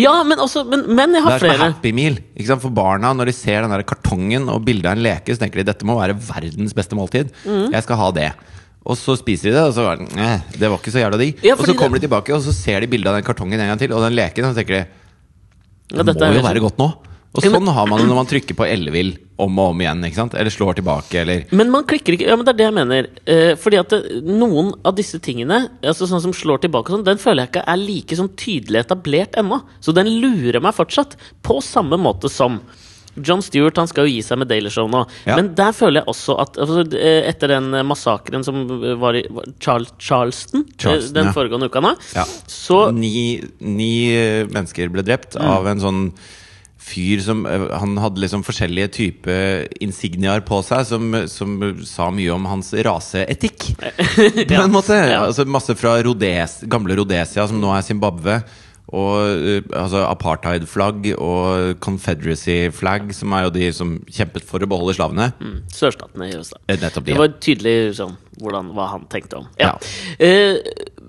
[SPEAKER 2] Ja, men, også, men, men jeg
[SPEAKER 1] Det
[SPEAKER 2] har
[SPEAKER 1] er som en
[SPEAKER 2] flere.
[SPEAKER 1] Happy Meal. Ikke sant? For barna, når de ser den der kartongen og bildet av en leke, så tenker de dette må være verdens beste måltid.
[SPEAKER 2] Mm.
[SPEAKER 1] Jeg skal ha det. Og så spiser de det, og så var det, "Nei, det var ikke så jævla digg.
[SPEAKER 2] Ja,
[SPEAKER 1] og så
[SPEAKER 2] fordi
[SPEAKER 1] kommer de tilbake, og så ser de bildet av den kartongen en gang til, og den leken, og så tenker de
[SPEAKER 2] Ja,
[SPEAKER 1] det
[SPEAKER 2] dette er
[SPEAKER 1] må jo
[SPEAKER 2] jo-
[SPEAKER 1] være godt nå. Og
[SPEAKER 2] Ja, men-
[SPEAKER 1] sånn har man det når man trykker på ellevill om og om igjen. Ikke sant? Eller slår tilbake, eller
[SPEAKER 2] Men man klikker ikke. Ja, men det er det jeg mener. Eh, fordi at det, noen av disse tingene, altså sånn som slår tilbake og sånn, den føler jeg ikke er like sånn tydelig etablert ennå. Så den lurer meg fortsatt. På samme måte som John Stewart han skal jo gi seg med Daily Show nå.
[SPEAKER 1] Ja.
[SPEAKER 2] Men der føler jeg også at altså, eh, Etter den eh, massakren som var i var Charl Charleston, eh,
[SPEAKER 1] Charleston,
[SPEAKER 2] den
[SPEAKER 1] ja.
[SPEAKER 2] foregående uka nå,
[SPEAKER 1] Ja.
[SPEAKER 2] så Mm.
[SPEAKER 1] Ni, ni eh, mennesker ble drept av en sånn fyr som eh, Han hadde liksom forskjellige type insigniaer på seg som, som sa mye om hans raseetikk. På en måte.
[SPEAKER 2] (laughs) Ja.
[SPEAKER 1] Altså masse fra Rhodes, gamle Rhodesia, som nå er Zimbabwe. Og eh, altså apartheid-flagg og confederacy-flagg, som er jo de som kjempet for å beholde slavene.
[SPEAKER 2] mm, Sørstatene i USA.
[SPEAKER 1] Eh, Nettopp de.
[SPEAKER 2] Det var tydelig sånn, hvordan, hva han tenkte om. Ja. Eh,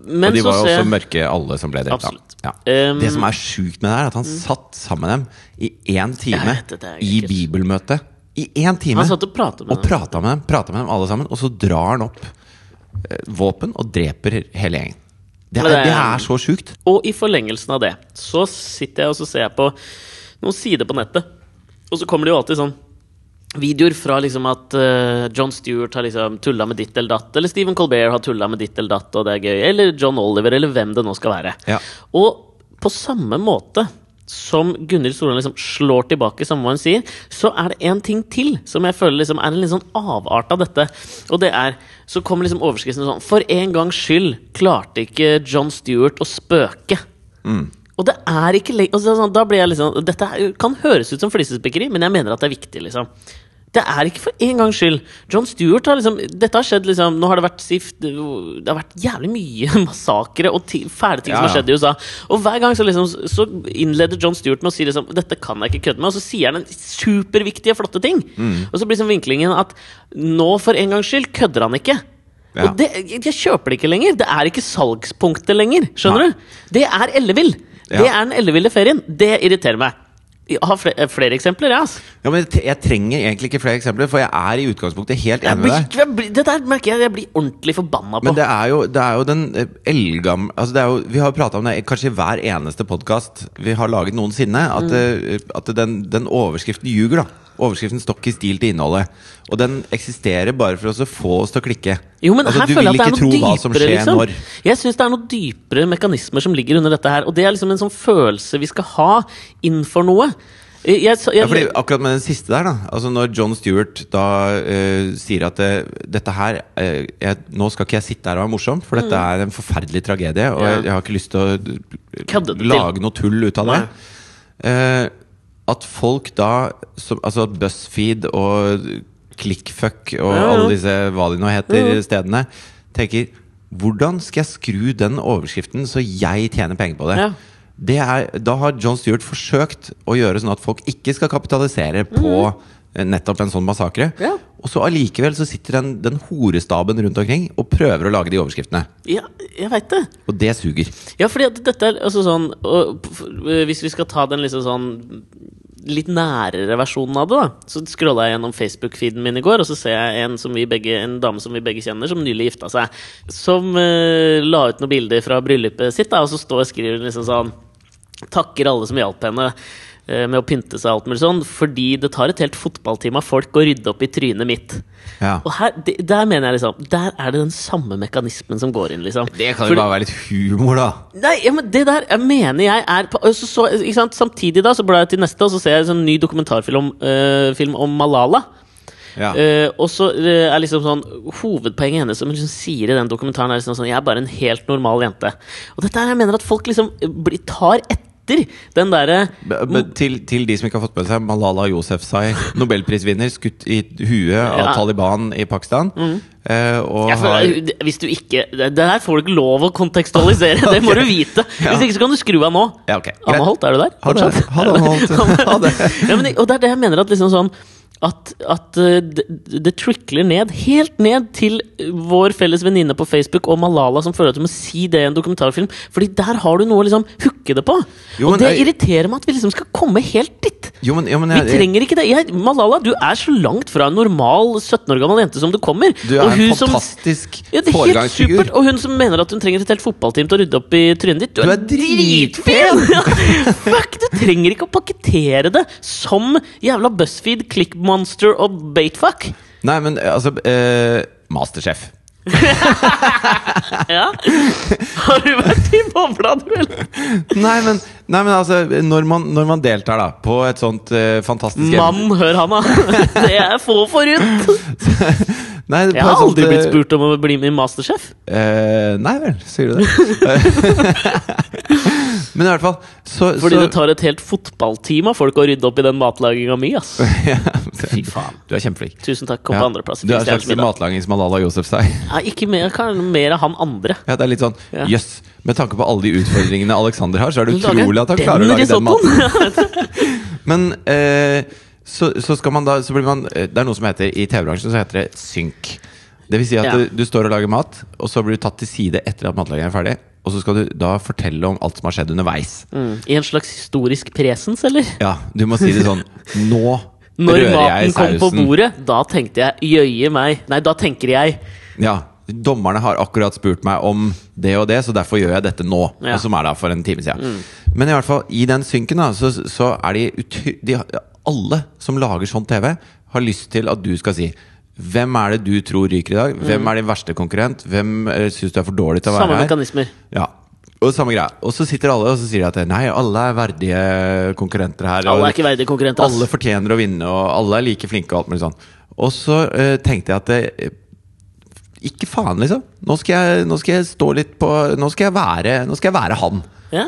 [SPEAKER 2] men
[SPEAKER 1] Og de
[SPEAKER 2] så
[SPEAKER 1] var jo
[SPEAKER 2] ser jeg-
[SPEAKER 1] også mørke, alle som ble drept. da.
[SPEAKER 2] Absolutt.
[SPEAKER 1] Ja.
[SPEAKER 2] Um,
[SPEAKER 1] det som er sjukt med det, her, er at han satt sammen med dem i én time
[SPEAKER 2] vet, dette er
[SPEAKER 1] i
[SPEAKER 2] ekkelt.
[SPEAKER 1] bibelmøte. I én time!
[SPEAKER 2] Han satt og pratet med
[SPEAKER 1] og prata med dem, prata med dem alle sammen. Og så drar han opp eh, våpen og dreper hele gjengen. Det
[SPEAKER 2] Men
[SPEAKER 1] er,
[SPEAKER 2] det er-
[SPEAKER 1] det er så sjukt.
[SPEAKER 2] Og i forlengelsen av det så sitter jeg og så ser jeg på noen sider på nettet, og så kommer det jo alltid sånn videoer fra liksom at eh, John Stewart har liksom tulla med ditt eller datt, eller Stephen Colbert har tulla med ditt eller datt, og det er gøy, eller John Oliver, eller hvem det nå skal være.
[SPEAKER 1] Ja.
[SPEAKER 2] Og på samme måte som Gunhild Stordalen liksom slår tilbake, som hun sier, så er det en ting til som jeg føler liksom er en litt sånn avart av dette. Og det er Så kommer liksom overskriften sånn For en gangs skyld klarte ikke John Stewart å spøke. Og det er ikke le- altså, sånn, Da blir jeg liksom Dette er- kan høres ut som flisespikkeri, men jeg mener at det er viktig, liksom. Det er ikke for en gangs skyld. John Stewart har liksom Dette har skjedd, liksom Nå har det vært sift, det har vært jævlig mye (laughs) massakre og ti- fæle ting som
[SPEAKER 1] Ja,
[SPEAKER 2] har skjedd i USA. Og hver gang så liksom Så innleder John Stewart med å si liksom Dette kan jeg ikke kødde med, og så sier han en superviktige, flotte ting.
[SPEAKER 1] Mm.
[SPEAKER 2] Og så blir liksom vinklingen at nå, for en gangs skyld, kødder han ikke.
[SPEAKER 1] Ja.
[SPEAKER 2] Og det, jeg, jeg kjøper det ikke lenger. Det er ikke salgspunktet lenger. Skjønner
[SPEAKER 1] Nei.
[SPEAKER 2] du? Det er ellevill. Det
[SPEAKER 1] Ja.
[SPEAKER 2] er den elleville ferien. Det irriterer meg. Jeg har flere, flere eksempler, jeg, altså.
[SPEAKER 1] Ja, men jeg t- jeg trenger egentlig ikke flere eksempler, for jeg er i utgangspunktet helt
[SPEAKER 2] Jeg
[SPEAKER 1] enig med
[SPEAKER 2] blir,
[SPEAKER 1] deg.
[SPEAKER 2] jeg blir, det der merker jeg jeg blir ordentlig forbanna på.
[SPEAKER 1] Men det er jo, det er jo den eh, eldgamle altså det er jo, Vi har jo prata om det i kanskje i hver eneste podkast vi har laget noensinne. At,
[SPEAKER 2] Mm.
[SPEAKER 1] eh, at den, den overskriften ljuger, da. Overskriften står ikke i stil til innholdet. Og den eksisterer bare for oss å få oss til å klikke.
[SPEAKER 2] jo, men
[SPEAKER 1] altså,
[SPEAKER 2] her
[SPEAKER 1] du
[SPEAKER 2] føler
[SPEAKER 1] vil
[SPEAKER 2] jeg at
[SPEAKER 1] ikke
[SPEAKER 2] det er
[SPEAKER 1] tro
[SPEAKER 2] noe
[SPEAKER 1] hva som
[SPEAKER 2] dypere.
[SPEAKER 1] skjer
[SPEAKER 2] Liksom.
[SPEAKER 1] når.
[SPEAKER 2] Jeg syns det er noen dypere mekanismer som ligger under dette her. Og det er liksom en sånn følelse vi skal ha innenfor noe. Jeg, jeg,
[SPEAKER 1] Ja, fordi akkurat med den siste der, da. Altså når John Stewart da eh, sier at eh, dette her eh, jeg, Nå skal ikke jeg sitte her og være morsom, for dette er en forferdelig tragedie, og
[SPEAKER 2] Mm. Ja.
[SPEAKER 1] jeg, jeg har ikke lyst til å d-
[SPEAKER 2] Kødde det til.
[SPEAKER 1] lage noe tull ut av det.
[SPEAKER 2] Nei.
[SPEAKER 1] Eh, at folk da som, Altså at BuzzFeed og Clickfuck og
[SPEAKER 2] Ja, ja.
[SPEAKER 1] alle disse hva de nå heter, stedene, tenker Hvordan skal jeg skru den overskriften så jeg tjener penger på det?
[SPEAKER 2] Ja.
[SPEAKER 1] det er, da har John Stewart forsøkt å gjøre sånn at folk ikke skal kapitalisere på eh, nettopp en sånn massakre.
[SPEAKER 2] Ja.
[SPEAKER 1] Og så allikevel så sitter den, den horestaben rundt omkring og prøver å lage de overskriftene.
[SPEAKER 2] ja, jeg veit det.
[SPEAKER 1] Og det suger.
[SPEAKER 2] Ja, fordi at dette er altså sånn og, p- f- øh, Hvis vi skal ta den liksom sånn litt nærere versjonen av det, da. Så scrolla jeg gjennom Facebook-feeden min i går, og så ser jeg en, som vi begge, en dame som vi begge kjenner, som nylig gifta seg. Som øh, la ut noen bilder fra bryllupet sitt, da, og så står skriver hun liksom sånn Takker alle som hjalp henne øh, med å pynte seg og alt mulig sånn, fordi det tar et helt fotballtime av folk å rydde opp i trynet mitt.
[SPEAKER 1] Ja.
[SPEAKER 2] Og her, det, der mener jeg liksom Der er det den samme mekanismen som går inn, liksom.
[SPEAKER 1] Det kan
[SPEAKER 2] Fordi-
[SPEAKER 1] jo bare være litt humor, da.
[SPEAKER 2] Nei, ja, men det der jeg mener jeg er på, så, så, ikke sant? Samtidig da, så blar jeg til neste, og så ser jeg en sånn ny dokumentarfilm om, eh, film om Malala.
[SPEAKER 1] Ja.
[SPEAKER 2] Eh, og så eh, er liksom sånn Hovedpoenget hennes som hun liksom sier i den dokumentaren, er liksom sånn Jeg er bare en helt normal jente. Og dette her jeg mener at folk liksom blir, tar etter den derre
[SPEAKER 1] B- b- til, til de som ikke har fått med seg Malala Yousefzai, nobelprisvinner, skutt i huet av
[SPEAKER 2] Ja.
[SPEAKER 1] Taliban i Pakistan. eh, og
[SPEAKER 2] Jeg
[SPEAKER 1] har
[SPEAKER 2] føler- det- Hvis du ikke Det det her får du ikke lov å
[SPEAKER 1] (laughs)
[SPEAKER 2] kontekstualisere, det må du vite!
[SPEAKER 1] Ja.
[SPEAKER 2] Hvis ikke så kan du skru av nå.
[SPEAKER 1] Ja, ok.
[SPEAKER 2] Anne Holt, er du der?
[SPEAKER 1] Ha det.
[SPEAKER 2] Fortsatt?
[SPEAKER 1] Ha det, Anne Holt.
[SPEAKER 2] (laughs)
[SPEAKER 1] Ha det.
[SPEAKER 2] ja, men, det- og det er det jeg mener at liksom sånn at, at eh, det, det trickler ned, helt ned til vår felles venninne på Facebook og Malala, som føler at du må si det i en dokumentarfilm. Fordi der har du noe å liksom hooke det på!
[SPEAKER 1] Jo,
[SPEAKER 2] og
[SPEAKER 1] men
[SPEAKER 2] det
[SPEAKER 1] jeg-
[SPEAKER 2] irriterer meg at vi liksom skal komme helt dit!
[SPEAKER 1] Jo, men, jo, men
[SPEAKER 2] Vi
[SPEAKER 1] jeg,
[SPEAKER 2] trenger ikke det. Jeg, Malala, du er så langt fra en normal 17 år gammel jente som du kommer.
[SPEAKER 1] du er
[SPEAKER 2] og hun
[SPEAKER 1] en
[SPEAKER 2] som-
[SPEAKER 1] fantastisk
[SPEAKER 2] ja, det er helt
[SPEAKER 1] foregangsfigur.
[SPEAKER 2] supert, Og hun som mener at hun trenger et helt fotballteam til å rydde opp i trynet ditt. Du,
[SPEAKER 1] er dritfen!
[SPEAKER 2] Ja, (laughs) Fuck, du trenger ikke å pakkettere det som jævla BuzzFeed, Clickmonster og Baitfuck.
[SPEAKER 1] Nei, men eh, altså eh, Masterchef.
[SPEAKER 2] Ja. Har du vært i bobla, du, eller?
[SPEAKER 1] Nei, men, nei, men altså når man, når man deltar da på et sånt eh, fantastisk
[SPEAKER 2] Mann, hør han, da. Det er få forunt.
[SPEAKER 1] Nei, på
[SPEAKER 2] Jeg har
[SPEAKER 1] et sånt,
[SPEAKER 2] aldri blitt
[SPEAKER 1] eh,
[SPEAKER 2] spurt om å bli med i Masterchef.
[SPEAKER 1] eh, nei vel, sier du det? (laughs) men i hvert fall så,
[SPEAKER 2] Fordi
[SPEAKER 1] så
[SPEAKER 2] det tar et helt fotballteam av folk å rydde opp i den matlaginga mi, ass.
[SPEAKER 1] (laughs) ja,
[SPEAKER 2] Fy faen.
[SPEAKER 1] Du er kjempeflink.
[SPEAKER 2] Tusen takk. Kom
[SPEAKER 1] Ja.
[SPEAKER 2] på andreplass.
[SPEAKER 1] Du er en slags matlagings Malala Yousefzai.
[SPEAKER 2] Nei, ikke mer, kan, mer av han andre.
[SPEAKER 1] (laughs) Ja, det er litt sånn,
[SPEAKER 2] Ja.
[SPEAKER 1] jøss, Med tanke på alle de utfordringene Alexander har, så er det
[SPEAKER 2] Lager
[SPEAKER 1] utrolig at han
[SPEAKER 2] den
[SPEAKER 1] klarer å lage den
[SPEAKER 2] risottoen?
[SPEAKER 1] maten. Men eh, så, så skal man da så blir man, eh, Det er noe som heter i TV-bransjen så heter det synk. Det vil si at
[SPEAKER 2] Ja.
[SPEAKER 1] du, du står og lager mat, og så blir du tatt til side etter at matlagingen er ferdig. Og så skal du da fortelle om alt som har skjedd underveis.
[SPEAKER 2] (laughs) Mm. I en slags historisk presens, eller?
[SPEAKER 1] Ja, Du må si det sånn (laughs) Nå
[SPEAKER 2] Når
[SPEAKER 1] rører jeg
[SPEAKER 2] maten
[SPEAKER 1] i
[SPEAKER 2] kom på
[SPEAKER 1] sausen.
[SPEAKER 2] bordet, da tenkte jeg jøye meg. Nei, da tenker jeg.
[SPEAKER 1] Ja, Dommerne har akkurat spurt meg om det og det, så derfor gjør jeg dette nå.
[SPEAKER 2] Ja. Mm.
[SPEAKER 1] Og som er da for en time siden. Men i hvert fall, i den synken da, så, så er de, utry- de Alle som lager sånn TV, har lyst til at du skal si hvem er det du tror ryker i dag? Hvem er din verste konkurrent? Hvem uh, syns du er for dårlig til å
[SPEAKER 2] Mm. Samme
[SPEAKER 1] være her?
[SPEAKER 2] mekanismer.
[SPEAKER 1] Ja, og samme greia. Og så sitter alle og så sier de at nei, alle er verdige konkurrenter her.
[SPEAKER 2] Alle er
[SPEAKER 1] og
[SPEAKER 2] ikke verdige konkurrenter. ass.
[SPEAKER 1] alle fortjener å vinne, og alle er like flinke og alt mulig sånn. Og så eh, tenkte jeg at det, ikke faen, liksom. Nå skal, jeg, nå skal jeg stå litt på Nå skal jeg være, nå skal jeg være han.
[SPEAKER 2] Ja.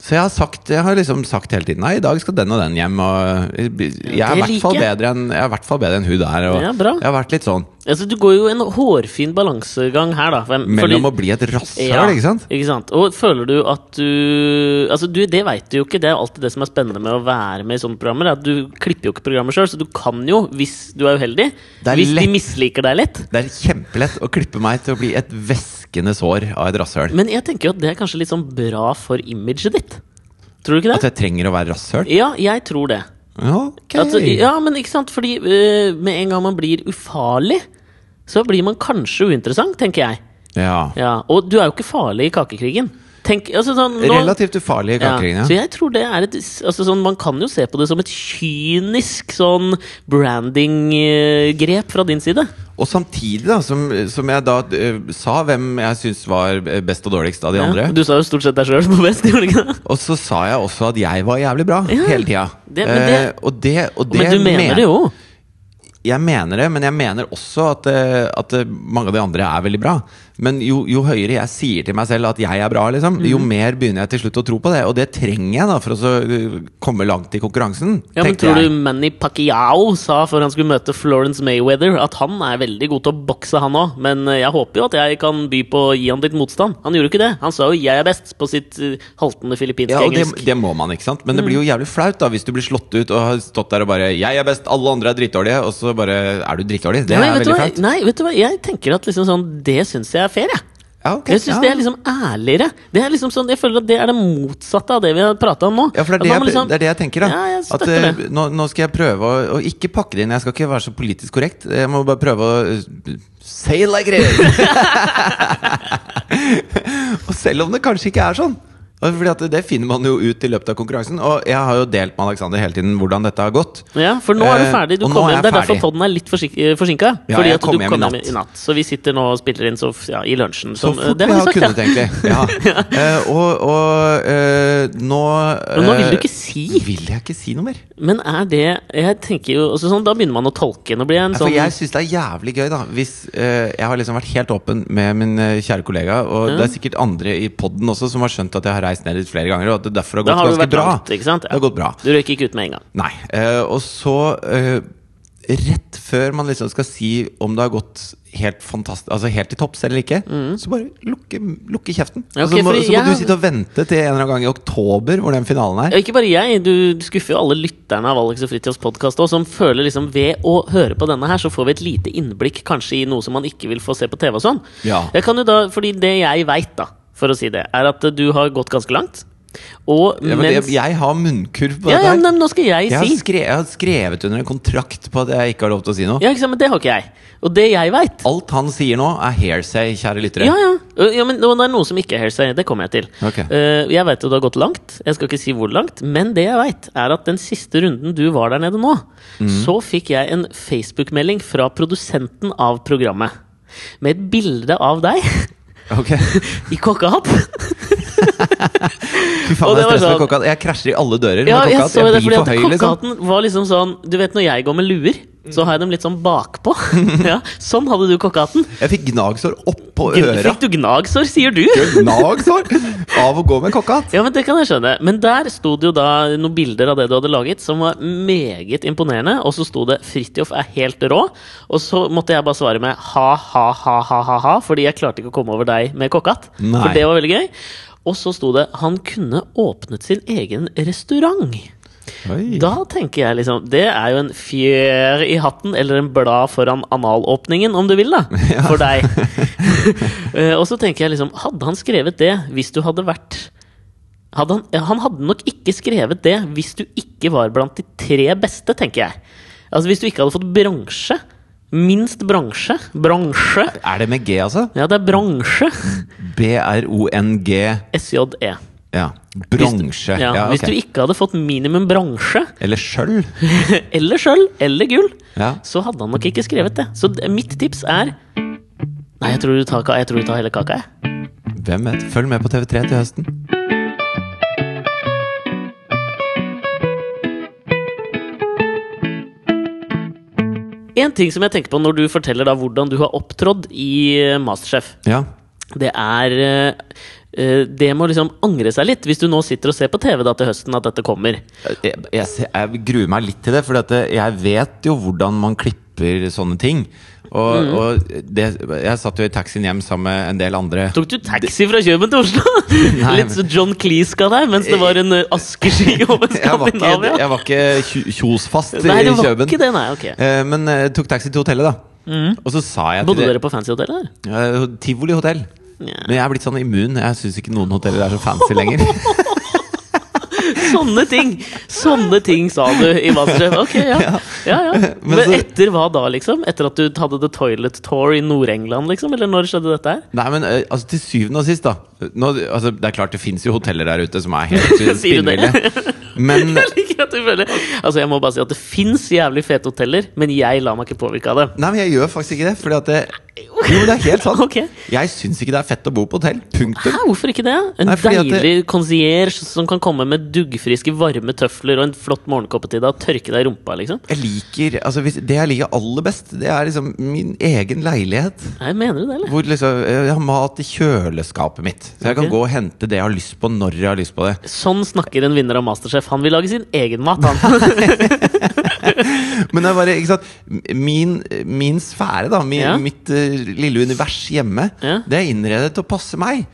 [SPEAKER 1] Så jeg har, sagt, jeg har liksom sagt hele tiden Nei, i dag skal den og den hjem. Og eh, jeg er i
[SPEAKER 2] det
[SPEAKER 1] hvert fall
[SPEAKER 2] liker jeg.
[SPEAKER 1] bedre enn jeg er i hvert fall bedre enn hun der. Og
[SPEAKER 2] Ja, bra.
[SPEAKER 1] Jeg har vært litt sånn
[SPEAKER 2] Altså, du går jo en hårfin balansegang her, da. Hvem-
[SPEAKER 1] mellom
[SPEAKER 2] fordi-
[SPEAKER 1] å bli et rasshøl,
[SPEAKER 2] Ja,
[SPEAKER 1] ikke sant?
[SPEAKER 2] ikke sant? Og føler du at du Altså, du, det veit du jo ikke. Det er alltid det som er spennende med å være med i sånne programmer. er At du klipper jo ikke programmet sjøl, så du kan jo, hvis du er uheldig
[SPEAKER 1] er
[SPEAKER 2] Hvis
[SPEAKER 1] lett.
[SPEAKER 2] de misliker deg litt.
[SPEAKER 1] Det er kjempelett å klippe meg til å bli et væskende sår av et rasshøl.
[SPEAKER 2] Men jeg tenker jo at det er kanskje litt sånn bra for imaget ditt. Tror du ikke
[SPEAKER 1] At
[SPEAKER 2] det?
[SPEAKER 1] jeg trenger å være rasshøl?
[SPEAKER 2] Ja, jeg tror det.
[SPEAKER 1] Ja, Ok.
[SPEAKER 2] At, ja, men ikke sant? Fordi øh, med en gang man blir ufarlig, så blir man kanskje uinteressant, tenker jeg.
[SPEAKER 1] Ja.
[SPEAKER 2] Ja, Og du er jo ikke farlig i kakekrigen. Tenk, altså sånn, nå,
[SPEAKER 1] Relativt ufarlig i
[SPEAKER 2] ja.
[SPEAKER 1] kakeringen.
[SPEAKER 2] Så jeg tror det er et altså sånn, Man kan jo se på det som et kynisk sånn branding-grep fra din side.
[SPEAKER 1] Og samtidig, da, som, som jeg da eh, sa hvem jeg syns var eh, best og dårligst av de andre,
[SPEAKER 2] Ja, du sa jo stort sett deg sjøl som var best, gjorde du ikke det?
[SPEAKER 1] og så sa jeg også at jeg var jævlig bra hele tida.
[SPEAKER 2] det- men det-
[SPEAKER 1] eh, og det, og det
[SPEAKER 2] Men du mener det jo.
[SPEAKER 1] Jeg mener det, men jeg mener også at, eh, at eh, mange av de andre er veldig bra. Men jo, jo høyere jeg sier til meg selv at jeg er bra, liksom,
[SPEAKER 2] Mhm.
[SPEAKER 1] jo mer begynner jeg til slutt å tro på det. Og det trenger jeg da for å så, eh, komme langt i konkurransen.
[SPEAKER 2] Ja, men
[SPEAKER 1] tenkte jeg.
[SPEAKER 2] Tror du Manny Pacquiao sa før han skulle møte Florence Mayweather, at han er veldig god til å bokse, han òg? Men eh, jeg håper jo at jeg kan by på å gi han litt motstand. Han gjorde jo ikke det. Han sa jo 'jeg er best' på sitt eh, haltende filippinske
[SPEAKER 1] Ja, og det,
[SPEAKER 2] engelsk.
[SPEAKER 1] det må man, ikke sant? Men
[SPEAKER 2] Mm.
[SPEAKER 1] det blir jo jævlig flaut da hvis du blir slått ut og har stått der og bare 'Jeg er best, alle andre er drittdårlige', og så bare er du drittdårlig. Det
[SPEAKER 2] nei,
[SPEAKER 1] er
[SPEAKER 2] vet du
[SPEAKER 1] veldig
[SPEAKER 2] hva?
[SPEAKER 1] flaut.
[SPEAKER 2] nei, vet du hva, jeg tenker at liksom sånn Det syns jeg er fair, jeg.
[SPEAKER 1] Ja, ok,
[SPEAKER 2] Jeg syns
[SPEAKER 1] ja.
[SPEAKER 2] det er liksom ærligere. Det er liksom sånn, jeg føler at det er det motsatte av det vi har prata om nå.
[SPEAKER 1] ja, for det er
[SPEAKER 2] At
[SPEAKER 1] det,
[SPEAKER 2] man må
[SPEAKER 1] jeg,
[SPEAKER 2] liksom-
[SPEAKER 1] det er det jeg tenker. da
[SPEAKER 2] Ja, jeg
[SPEAKER 1] At
[SPEAKER 2] støtter
[SPEAKER 1] eh,
[SPEAKER 2] det.
[SPEAKER 1] nå, nå skal jeg prøve å, å ikke pakke det inn. Jeg skal ikke være så politisk korrekt. Jeg må bare prøve å eh, say it like it is! (laughs) og selv om det kanskje ikke er sånn. Og Fordi at Det finner man jo ut i løpet av konkurransen. Og jeg har jo delt med Alexander hele tiden hvordan dette har gått.
[SPEAKER 2] Ja, for nå er du
[SPEAKER 1] Eh,
[SPEAKER 2] ferdig. Du
[SPEAKER 1] og nå
[SPEAKER 2] kom
[SPEAKER 1] er
[SPEAKER 2] hjem.
[SPEAKER 1] jeg
[SPEAKER 2] Det er derfor
[SPEAKER 1] ferdig.
[SPEAKER 2] podden er litt forsinka.
[SPEAKER 1] Ja,
[SPEAKER 2] fordi
[SPEAKER 1] jeg
[SPEAKER 2] at
[SPEAKER 1] kom
[SPEAKER 2] du
[SPEAKER 1] hjem i
[SPEAKER 2] kom hjem
[SPEAKER 1] natt.
[SPEAKER 2] i natt. Så vi sitter nå og spiller inn så, ja, i
[SPEAKER 1] Så
[SPEAKER 2] lunsjen. som- eh,
[SPEAKER 1] fort
[SPEAKER 2] det
[SPEAKER 1] vi har
[SPEAKER 2] vi sagt,
[SPEAKER 1] kunnet,
[SPEAKER 2] ja.
[SPEAKER 1] egentlig. Ja.
[SPEAKER 2] (laughs)
[SPEAKER 1] Eh, og og eh, nå
[SPEAKER 2] Men nå vil du
[SPEAKER 1] eh,
[SPEAKER 2] ikke si.
[SPEAKER 1] Vil jeg ikke si noe mer?
[SPEAKER 2] Men er det Jeg tenker jo altså sånn, Da begynner man å tolke. Nå blir jeg en
[SPEAKER 1] Ja, For
[SPEAKER 2] sånn
[SPEAKER 1] jeg syns det er jævlig gøy, da. Hvis eh, Jeg har liksom vært helt åpen med min eh, kjære kollega, og det er sikkert andre i poden også som har skjønt at jeg har reist ned dit flere ganger, og at det derfor har
[SPEAKER 2] Da
[SPEAKER 1] gått
[SPEAKER 2] har du vært
[SPEAKER 1] ganske bra.
[SPEAKER 2] langt, ikke sant?
[SPEAKER 1] Det har gått bra.
[SPEAKER 2] Du røyk ikke ut med en gang.
[SPEAKER 1] Nei. eh, og så eh, Rett før man liksom skal si om det har gått helt fantastisk Altså helt til topps eller ikke, så bare lukke, lukke kjeften.
[SPEAKER 2] Mm.
[SPEAKER 1] Og
[SPEAKER 2] Ja, ok,
[SPEAKER 1] så må,
[SPEAKER 2] fordi
[SPEAKER 1] så må
[SPEAKER 2] jeg-
[SPEAKER 1] du sitte og vente til en eller annen gang i oktober hvor den finalen er.
[SPEAKER 2] Ja, Ikke bare jeg, du skuffer jo alle lytterne av Alex og Fritjofs podkast òg, som føler liksom ved å høre på denne her, så får vi et lite innblikk kanskje i noe som man ikke vil få se på TV og sånn.
[SPEAKER 1] Ja.
[SPEAKER 2] Jeg kan jo da, fordi det jeg veit, da, for å si det, er at eh, du har gått ganske langt. Og
[SPEAKER 1] Ja, men
[SPEAKER 2] mens
[SPEAKER 1] jeg, jeg har munnkurv på
[SPEAKER 2] Ja,
[SPEAKER 1] dette.
[SPEAKER 2] ja,
[SPEAKER 1] her.
[SPEAKER 2] men nå skal jeg,
[SPEAKER 1] jeg, har
[SPEAKER 2] si.
[SPEAKER 1] skrevet, jeg har skrevet under en kontrakt på at jeg ikke har lov til å si noe.
[SPEAKER 2] (laughs) Ja, ikke sant, men det har ikke jeg. Og det jeg veit
[SPEAKER 1] Alt han sier nå, er hairsay, kjære lyttere.
[SPEAKER 2] ja, ja. Ø, ja, men nå- det er noe som ikke er hearsay. Det kommer jeg til.
[SPEAKER 1] Ok.
[SPEAKER 2] Eh, jeg veit jo du har gått langt. Jeg skal ikke si hvor langt. Men det jeg veit, er at den siste runden du var der nede nå,
[SPEAKER 1] Mhm.
[SPEAKER 2] så fikk jeg en Facebook-melding fra produsenten av programmet. Med et bilde av deg
[SPEAKER 1] (laughs)
[SPEAKER 2] (laughs)
[SPEAKER 1] Ok.
[SPEAKER 2] i kokkehatt.
[SPEAKER 1] Fy faen,
[SPEAKER 2] Og
[SPEAKER 1] det
[SPEAKER 2] det
[SPEAKER 1] er
[SPEAKER 2] var
[SPEAKER 1] stress med
[SPEAKER 2] sånn-
[SPEAKER 1] kokkehatt. Jeg krasjer i alle dører
[SPEAKER 2] (laughs) Ja,
[SPEAKER 1] med
[SPEAKER 2] jeg
[SPEAKER 1] kokkehatt.
[SPEAKER 2] så
[SPEAKER 1] Jeg,
[SPEAKER 2] det fordi
[SPEAKER 1] blir
[SPEAKER 2] at
[SPEAKER 1] for høy, liksom.
[SPEAKER 2] kokkehatten var liksom sånn Du vet når jeg går med luer, så har jeg dem litt sånn
[SPEAKER 1] (laughs)
[SPEAKER 2] bakpå. Ja, sånn hadde du kokkehatten.
[SPEAKER 1] Jeg fikk gnagsår oppå øra.
[SPEAKER 2] Fikk du gnagsår, sier du?
[SPEAKER 1] Gnagsår av å gå med kokkehatt!
[SPEAKER 2] Ja, men det kan jeg skjønne. Men der sto det jo da noen bilder av det du hadde laget, som var meget imponerende. Og så sto det 'Fridtjof er helt rå'. Og så måtte jeg bare svare med ha-ha-ha-ha-ha, fordi jeg klarte ikke å komme over deg med kokkehatt.
[SPEAKER 1] Nei.
[SPEAKER 2] For det var veldig gøy. Og så sto det 'Han kunne åpnet sin egen restaurant'.
[SPEAKER 1] Oi.
[SPEAKER 2] Da tenker jeg liksom Det er jo en fjær i hatten, eller en blad foran analåpningen, om du
[SPEAKER 1] (laughs)
[SPEAKER 2] vil, da. For deg. (laughs) Eh, og så tenker jeg liksom Hadde han skrevet det hvis du hadde vært hadde han, ja, han hadde nok ikke skrevet det hvis du ikke var blant de tre beste, tenker jeg. Altså Hvis du ikke hadde fått bronse. Minst bronse. Bronse.
[SPEAKER 1] Er det med G, altså?
[SPEAKER 2] Ja, det er bronse.
[SPEAKER 1] B-R-O-N-G.
[SPEAKER 2] SJE.
[SPEAKER 1] Ja. Bronse.
[SPEAKER 2] E. Ja,
[SPEAKER 1] Ja,
[SPEAKER 2] Hvis
[SPEAKER 1] ok.
[SPEAKER 2] du ikke hadde fått minimum bronse,
[SPEAKER 1] Eller sølv.
[SPEAKER 2] eller sølv, eller gull,
[SPEAKER 1] Ja.
[SPEAKER 2] så hadde han nok ikke skrevet det. Så d- mitt tips er Nei, jeg tror du tar, ka- jeg tror du tar hele kaka, jeg.
[SPEAKER 1] Hvem vet? Følg med på TV3 til høsten.
[SPEAKER 2] En ting som jeg tenker på når du forteller da hvordan du har opptrådd i eh, Masterchef,
[SPEAKER 1] Ja.
[SPEAKER 2] det er eh, eh, Det må liksom angre seg litt, hvis du nå sitter og ser på TV da til høsten at dette kommer.
[SPEAKER 1] Jeg, jeg, ser- jeg gruer meg litt til det, for jeg vet jo hvordan man klipper sånne ting. Og,
[SPEAKER 2] Mm.
[SPEAKER 1] og det, jeg satt jo i taxien hjem sammen med en del andre.
[SPEAKER 2] Tok du taxi fra Kjøben til Oslo?
[SPEAKER 1] (laughs) Nei,
[SPEAKER 2] (laughs) Litt så John Cleese-ka der, mens det var en eh,
[SPEAKER 1] (laughs)
[SPEAKER 2] askesky over
[SPEAKER 1] Jeg var ikke,
[SPEAKER 2] Skandinavia?
[SPEAKER 1] jeg var ikke kjo- kjosfast i
[SPEAKER 2] Nei, det var
[SPEAKER 1] Kjøben.
[SPEAKER 2] ikke det, nei. ok
[SPEAKER 1] Eh, Men eh, tok taxi til hotellet, da. Og så sa jeg
[SPEAKER 2] Bodde
[SPEAKER 1] til
[SPEAKER 2] dere på fancy hotell, eller?
[SPEAKER 1] Eh, Tivoli hotell.
[SPEAKER 2] Nja.
[SPEAKER 1] Men jeg er blitt sånn immun. Jeg syns ikke noen hoteller er så fancy
[SPEAKER 2] (laughs)
[SPEAKER 1] lenger.
[SPEAKER 2] Sånne ting! Sånne ting sa du i Masterchef. Ok, ja. ja, ja.
[SPEAKER 1] Men
[SPEAKER 2] Men,
[SPEAKER 1] så-
[SPEAKER 2] etter hva da, liksom? Etter at du hadde The Toilet Tour i Nord-England, liksom? Eller når skjedde dette
[SPEAKER 1] (laughs)
[SPEAKER 2] her?
[SPEAKER 1] Nei, men eh, altså, til syvende og sist, da nå, altså, Det er klart det fins jo hoteller der ute som
[SPEAKER 2] (laughs)
[SPEAKER 1] er helt eh,
[SPEAKER 2] Sier du
[SPEAKER 1] spinnville.
[SPEAKER 2] det?
[SPEAKER 1] Men
[SPEAKER 2] (laughs) Jeg liker at du føler Altså, jeg må bare si at det fins jævlig fete hoteller, men jeg lar meg ikke påvirke av det.
[SPEAKER 1] Nei, men jeg gjør faktisk ikke det. Fordi at det, jo, det er helt sant.
[SPEAKER 2] Ok.
[SPEAKER 1] Jeg syns ikke det er fett å bo på hotell. Punktum.
[SPEAKER 2] Hæ, hvorfor ikke det? En
[SPEAKER 1] Nei, fordi at det-
[SPEAKER 2] deilig concierge som kan komme med duggfriske, varme tøfler og en flott morgenkopp til deg og tørke deg i rumpa, liksom.
[SPEAKER 1] Jeg liker, altså hvis, Det jeg liker aller best, det er liksom min egen leilighet.
[SPEAKER 2] Nei, mener du det, eller?
[SPEAKER 1] Hvor liksom, jeg har mat i kjøleskapet mitt. Så jeg kan
[SPEAKER 2] Ok.
[SPEAKER 1] gå og hente det jeg har lyst på, når jeg har lyst på det.
[SPEAKER 2] Sånn snakker en vinner av Masterchef. Han vil lage sin egen mat, han.
[SPEAKER 1] (laughs) Men det er bare, ikke sant Min, min sfære, da, min,
[SPEAKER 2] Ja.
[SPEAKER 1] mitt eh, lille univers hjemme,
[SPEAKER 2] Ja.
[SPEAKER 1] det er innredet til å passe meg.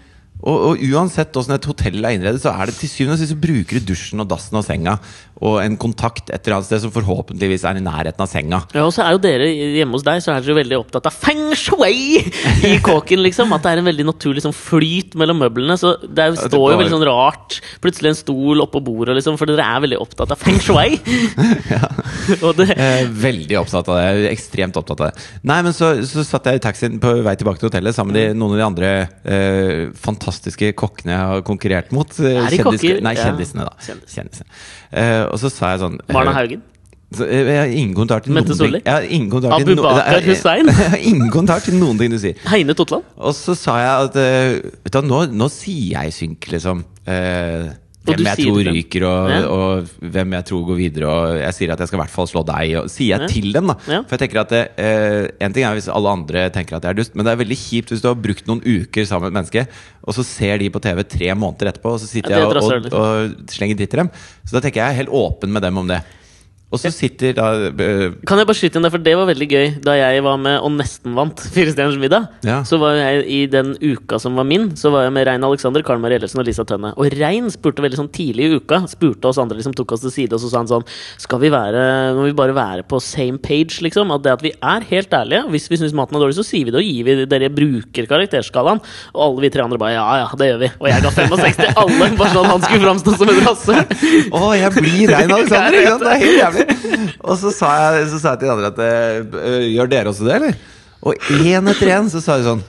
[SPEAKER 1] Og, og uansett åssen et hotell er innredet, så er det til syvende og sist så bruker du dusjen og dassen og senga og en kontakt et eller annet sted som forhåpentligvis er i nærheten av senga.
[SPEAKER 2] Ja, og så er jo dere hjemme hos deg så er dere jo veldig opptatt av feng shui
[SPEAKER 1] (laughs)
[SPEAKER 2] i kåken, liksom. At det er en veldig naturlig sånn flyt mellom møblene. Så det er
[SPEAKER 1] Ja,
[SPEAKER 2] jo-
[SPEAKER 1] det
[SPEAKER 2] står jo
[SPEAKER 1] var-
[SPEAKER 2] veldig sånn rart. Plutselig en stol oppå bordet, liksom. For dere er veldig opptatt av feng
[SPEAKER 1] (laughs)
[SPEAKER 2] shui. (laughs) og det,
[SPEAKER 1] Eh, veldig opptatt av det. Ekstremt opptatt av det. Nei, men så, så satt jeg i taxien på vei tilbake til hotellet sammen med de, noen av de andre eh, fantastiske kokkene jeg har konkurrert mot. Eh,
[SPEAKER 2] Er de
[SPEAKER 1] kjendis-
[SPEAKER 2] kokker?
[SPEAKER 1] Nei,
[SPEAKER 2] Ja.
[SPEAKER 1] kjendisene, da. Kjendisene. Eh, og så sa jeg sånn eh,
[SPEAKER 2] Marna Haugen.
[SPEAKER 1] så, eh, jeg har ingen kommentar til
[SPEAKER 2] Mette
[SPEAKER 1] noen ting.
[SPEAKER 2] Solli?
[SPEAKER 1] Jeg har ingen kommentar
[SPEAKER 2] Abu
[SPEAKER 1] til no-
[SPEAKER 2] Bakar
[SPEAKER 1] Jeg- jeg-
[SPEAKER 2] Hussein?
[SPEAKER 1] (laughs) Jeg har ingen kommentar til noen ting du sier.
[SPEAKER 2] Heine Totland.
[SPEAKER 1] Og så sa jeg at eh, vet du, hva, nå, nå sier jeg synk, liksom. Eh,
[SPEAKER 2] Og du
[SPEAKER 1] hvem jeg
[SPEAKER 2] sier
[SPEAKER 1] tror
[SPEAKER 2] det.
[SPEAKER 1] ryker, og,
[SPEAKER 2] Ja.
[SPEAKER 1] og hvem jeg tror går videre. Og jeg sier at jeg skal i hvert fall slå deg. Og, sier jeg til dem, da.
[SPEAKER 2] Ja.
[SPEAKER 1] For jeg tenker at eh, En ting er hvis alle andre tenker at jeg er dust, men det er veldig kjipt hvis du har brukt noen uker sammen med et menneske, og så ser de på TV tre måneder etterpå, og så sitter
[SPEAKER 2] Ja, det
[SPEAKER 1] jeg
[SPEAKER 2] drar
[SPEAKER 1] og,
[SPEAKER 2] søren,
[SPEAKER 1] og, og slenger dritt til dem. Så da tenker jeg jeg er helt åpen med dem om det. Og så sitter da eh,
[SPEAKER 2] Kan jeg bare skyte inn der, for det var veldig gøy Da jeg var med og nesten vant Fire stjerners middag
[SPEAKER 1] Ja.
[SPEAKER 2] Så var jeg i den uka som var min Så var jeg med Rein Alexander, Karl Marie Ellefsen og Lisa Tønne Og Rein spurte veldig sånn tidlig i uka Spurte oss andre, liksom tok oss til side Og så sa han sånn Skal vi være, må vi bare være på same page liksom At det at vi er helt ærlige Hvis vi synes maten er dårlig så sier vi det Og gir vi det. dere bruker karakterskalaen Og alle vi tre andre bare, ja ja, det gjør vi Og jeg ga 65 til alle Bare sånn at han skulle fremstå som en rasse
[SPEAKER 1] Å, jeg blir (laughs) rein Alexander!
[SPEAKER 2] Jeg
[SPEAKER 1] Ikke sant? Det er helt jævlig. Og så sa jeg, så sa jeg til de andre at eh, øh, Gjør dere også det, eller? Og én etter én så sa de sånn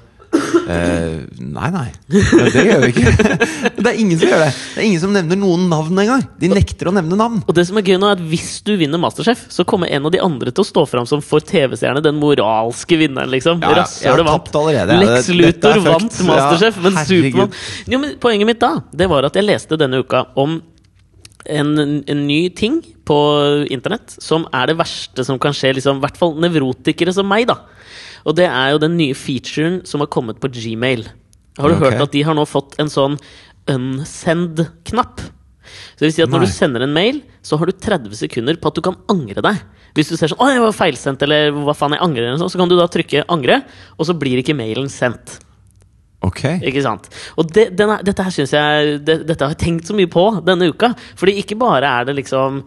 [SPEAKER 1] eh, nei, nei. Det gjør vi ikke. (laughs) Det er ingen som gjør det. Det er ingen som nevner noen navn engang. De nekter å nevne navn.
[SPEAKER 2] Og det som er gøy nå er at Hvis du vinner Masterchef, så kommer en av de andre til å stå fram som for TV-seerne den moralske vinneren. liksom
[SPEAKER 1] Ja, ja.
[SPEAKER 2] Rasshølet
[SPEAKER 1] Jeg har
[SPEAKER 2] vant.
[SPEAKER 1] tapt allerede.
[SPEAKER 2] Lex
[SPEAKER 1] Det- dette
[SPEAKER 2] Luthor
[SPEAKER 1] er fucked.
[SPEAKER 2] vant Masterchef,
[SPEAKER 1] Ja,
[SPEAKER 2] men
[SPEAKER 1] herregud.
[SPEAKER 2] Supermann Jo, men Poenget mitt da Det var at jeg leste denne uka om en, en ny ting på internett som er det verste som kan skje, liksom, i hvert fall nevrotikere som meg. da Og det er jo den nye featuren som har kommet på Gmail. Har du
[SPEAKER 1] Ok.
[SPEAKER 2] hørt at de har nå fått en sånn unsend-knapp? Så det vil si at
[SPEAKER 1] Nei.
[SPEAKER 2] Når du sender en mail, så har du 30 sekunder på at du kan angre deg. Hvis du ser sånn 'Å, jeg var feilsendt', eller 'hva faen, jeg angrer', eller sånn, så kan du da trykke 'angre', og så blir ikke mailen sendt.
[SPEAKER 1] Ok
[SPEAKER 2] Ikke sant? Og det, den er, dette her synes jeg det, Dette har jeg tenkt så mye på denne uka. Fordi ikke bare er det liksom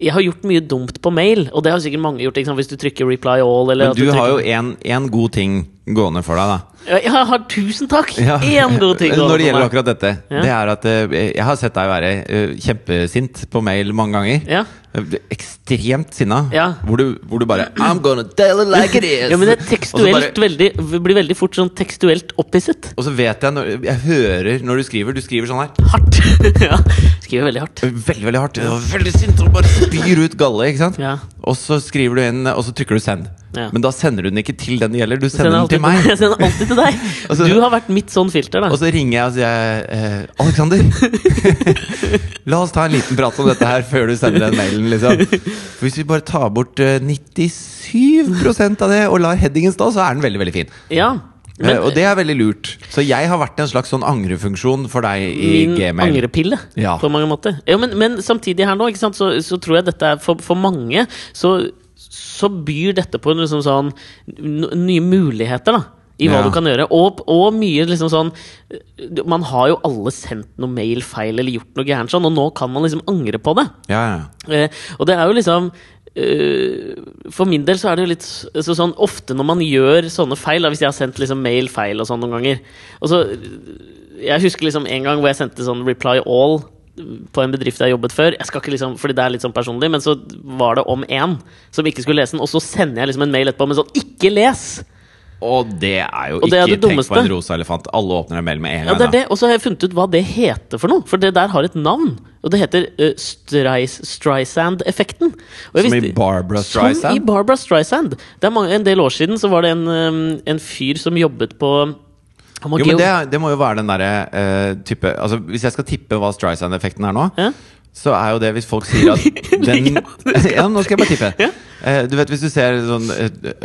[SPEAKER 2] Jeg har gjort mye dumt på mail, og det har sikkert mange gjort. Ikke sant? Hvis du trykker 'reply all' eller
[SPEAKER 1] Men
[SPEAKER 2] at
[SPEAKER 1] du har
[SPEAKER 2] trykker-
[SPEAKER 1] jo en en god ting gående for deg, da.
[SPEAKER 2] Ja, Jeg har tusen takk!
[SPEAKER 1] Ja.
[SPEAKER 2] Én god ting.
[SPEAKER 1] (laughs) Når det gjelder akkurat dette,
[SPEAKER 2] Ja.
[SPEAKER 1] det er at eh, jeg har sett deg være eh, kjempesint på mail mange ganger.
[SPEAKER 2] Ja.
[SPEAKER 1] Eh, Ekstremt sinna.
[SPEAKER 2] Ja.
[SPEAKER 1] Hvor, du, hvor du bare I'm gonna tell it like it is!
[SPEAKER 2] (laughs) Ja, men det er
[SPEAKER 1] Og så
[SPEAKER 2] tekstuelt
[SPEAKER 1] bare-
[SPEAKER 2] veldig, blir veldig fort sånn tekstuelt opphisset.
[SPEAKER 1] og så vet jeg når, Jeg hører når du skriver. Du skriver sånn her.
[SPEAKER 2] Hardt. (laughs) ja. Skriver veldig hardt.
[SPEAKER 1] Veldig veldig hardt. og Veldig sint og bare spyr ut galle. ikke sant?
[SPEAKER 2] Ja.
[SPEAKER 1] Og så skriver du inn, og så trykker du send.
[SPEAKER 2] Ja.
[SPEAKER 1] Men da sender du den ikke til den det gjelder. Du
[SPEAKER 2] Jeg
[SPEAKER 1] sender den til meg.
[SPEAKER 2] (laughs) Jeg sender alltid til deg.
[SPEAKER 1] (laughs) Altså-
[SPEAKER 2] du har vært mitt sånn filter,
[SPEAKER 1] Og
[SPEAKER 2] da.
[SPEAKER 1] så ringer jeg og sier eh,
[SPEAKER 2] (laughs)
[SPEAKER 1] Alexander, la oss ta en liten prat om dette her før du sender den mailen.
[SPEAKER 2] (laughs)
[SPEAKER 1] Liksom. For hvis vi bare tar bort eh, 97 av det og lar headingen stå, så er den veldig veldig fin.
[SPEAKER 2] Ja.
[SPEAKER 1] eh, og det er veldig lurt. Så jeg har vært en slags sånn angrefunksjon for deg i
[SPEAKER 2] min
[SPEAKER 1] Gmail.
[SPEAKER 2] angrepille,
[SPEAKER 1] Ja.
[SPEAKER 2] på mange måter. Ja, men, men samtidig her nå, ikke sant, så, så tror jeg dette er for, for mange så, så byr dette på liksom sånn n- nye muligheter, da. I hva
[SPEAKER 1] Ja.
[SPEAKER 2] du kan gjøre. Og, og mye liksom sånn du- Man har jo alle sendt noe mail feil eller gjort noe gærent sånn, og nå kan man liksom angre på det.
[SPEAKER 1] Ja, ja.
[SPEAKER 2] Eh, og det er jo liksom eh, For min del så er det jo litt s- så sånn Ofte når man gjør sånne feil, da, hvis jeg har sendt liksom mail feil og sånn noen ganger og så, Jeg husker liksom en gang hvor jeg sendte sånn reply all på en bedrift jeg jobbet før. Jeg skal ikke liksom, fordi det er litt sånn personlig, men så var det om én som ikke skulle lese den, og så sender jeg liksom en mail etterpå med sånn 'Ikke les!'
[SPEAKER 1] Og det er jo
[SPEAKER 2] Og det
[SPEAKER 1] ikke
[SPEAKER 2] er det
[SPEAKER 1] tenk på
[SPEAKER 2] dummeste.
[SPEAKER 1] en rosa elefant. Alle åpner en mail med en gang.
[SPEAKER 2] Ja, det er
[SPEAKER 1] da.
[SPEAKER 2] det. Og så har jeg funnet ut hva det heter for noe. For det der har et navn. Og det heter uh, Streisand-effekten. Og jeg
[SPEAKER 1] Som i
[SPEAKER 2] visste-
[SPEAKER 1] Barbra
[SPEAKER 2] Som i
[SPEAKER 1] Streisand?
[SPEAKER 2] Barbra Streisand. Det er mange, en del år siden så var det en, um, en fyr som jobbet på han var
[SPEAKER 1] Jo, men
[SPEAKER 2] geo-
[SPEAKER 1] det, det må jo være den derre eh, type Altså, hvis jeg skal tippe hva Streisand-effekten er nå,
[SPEAKER 2] Ja.
[SPEAKER 1] så er jo det hvis folk sier
[SPEAKER 2] (laughs)
[SPEAKER 1] at den (laughs) Ja, nå skal jeg bare tippe. Eh, du vet hvis du ser sånn eh,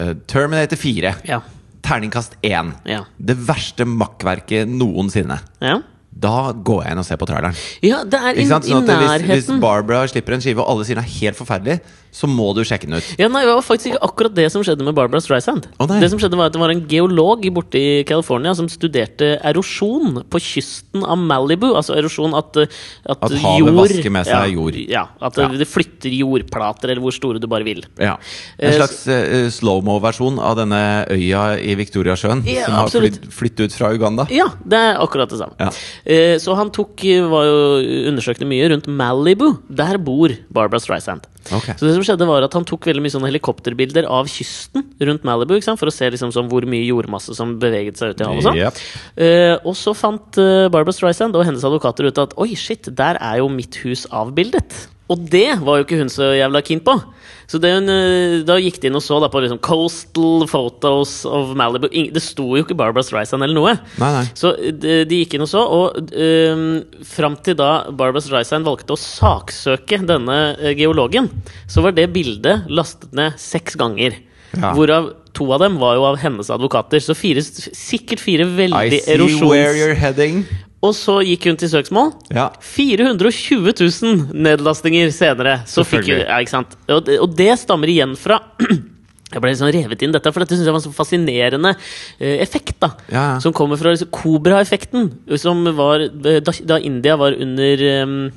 [SPEAKER 1] eh, Terminator 4,
[SPEAKER 2] Ja.
[SPEAKER 1] terningkast 1.
[SPEAKER 2] Ja.
[SPEAKER 1] Det verste makkverket noensinne.
[SPEAKER 2] Ja.
[SPEAKER 1] Da går jeg inn og ser på traileren.
[SPEAKER 2] ja, det er i,
[SPEAKER 1] Ikke sant?
[SPEAKER 2] i
[SPEAKER 1] Sånn at hvis, hvis
[SPEAKER 2] nærheten.
[SPEAKER 1] Barbara slipper en skive, og alle sier den er helt forferdelig, så må du sjekke den ut.
[SPEAKER 2] Ja, nei, Det var faktisk ikke akkurat det som skjedde med Barbara Streisand.
[SPEAKER 1] Å, nei.
[SPEAKER 2] det som skjedde var at det var en geolog i- borte i California som studerte erosjon på kysten av Malibu. Altså erosjon at, eh,
[SPEAKER 1] At havet vasker med seg
[SPEAKER 2] ja,
[SPEAKER 1] jord.
[SPEAKER 2] Ja, At eh,
[SPEAKER 1] Ja.
[SPEAKER 2] det flytter jordplater, eller hvor store du bare vil.
[SPEAKER 1] Ja.
[SPEAKER 2] Eh,
[SPEAKER 1] En slags uh, slowmo-versjon av denne øya i Victoriasjøen
[SPEAKER 2] Ja,
[SPEAKER 1] som har
[SPEAKER 2] absolutt.
[SPEAKER 1] flytt, flyttet ut fra Uganda.
[SPEAKER 2] Ja, det er akkurat det samme.
[SPEAKER 1] Ja.
[SPEAKER 2] Eh, så han tok, eh, var jo, undersøkte mye rundt Malibu. Der bor Barbara Streisand.
[SPEAKER 1] Ok.
[SPEAKER 2] Så det som skjedde var at Han tok veldig mye sånne helikopterbilder av kysten rundt Malibu ikke sant? for å se liksom sånn hvor mye jordmasse som beveget seg ut i havet. og sånn.
[SPEAKER 1] Yep.
[SPEAKER 2] Eh, og så fant eh, Barbara Streisand og hennes advokater ut at oi, shit, der er jo mitt hus avbildet. Og det var jo ikke hun så jævla keen på. Så det hun, eh, da gikk de inn og så da på liksom coastal photos of Malibu. Ing- Det sto jo ikke Barbara Streisand eller noe.
[SPEAKER 1] Nei, nei.
[SPEAKER 2] Så eh, de, de gikk inn og så, og um, fram til da Barbara Streisand valgte å saksøke denne eh, geologen, så var det bildet lastet ned seks ganger.
[SPEAKER 1] Ja.
[SPEAKER 2] Hvorav to av dem var jo av hennes advokater. Så fire, sikkert fire
[SPEAKER 1] I
[SPEAKER 2] veldig
[SPEAKER 1] see where
[SPEAKER 2] erosjons...
[SPEAKER 1] you're heading.
[SPEAKER 2] Og så gikk hun til søksmål.
[SPEAKER 1] Ja.
[SPEAKER 2] 420 000 nedlastinger senere. Så fikk hun,
[SPEAKER 1] Selvfølgelig.
[SPEAKER 2] ja, ikke sant? Og, det, og det stammer igjen fra (clears throat) Jeg ble litt sånn revet inn i dette, for dette synes jeg var en sånn fascinerende eh, effekt. da
[SPEAKER 1] Ja, ja.
[SPEAKER 2] Som kommer fra liksom, Kobra-effekten, som var eh, da, da India var under eh,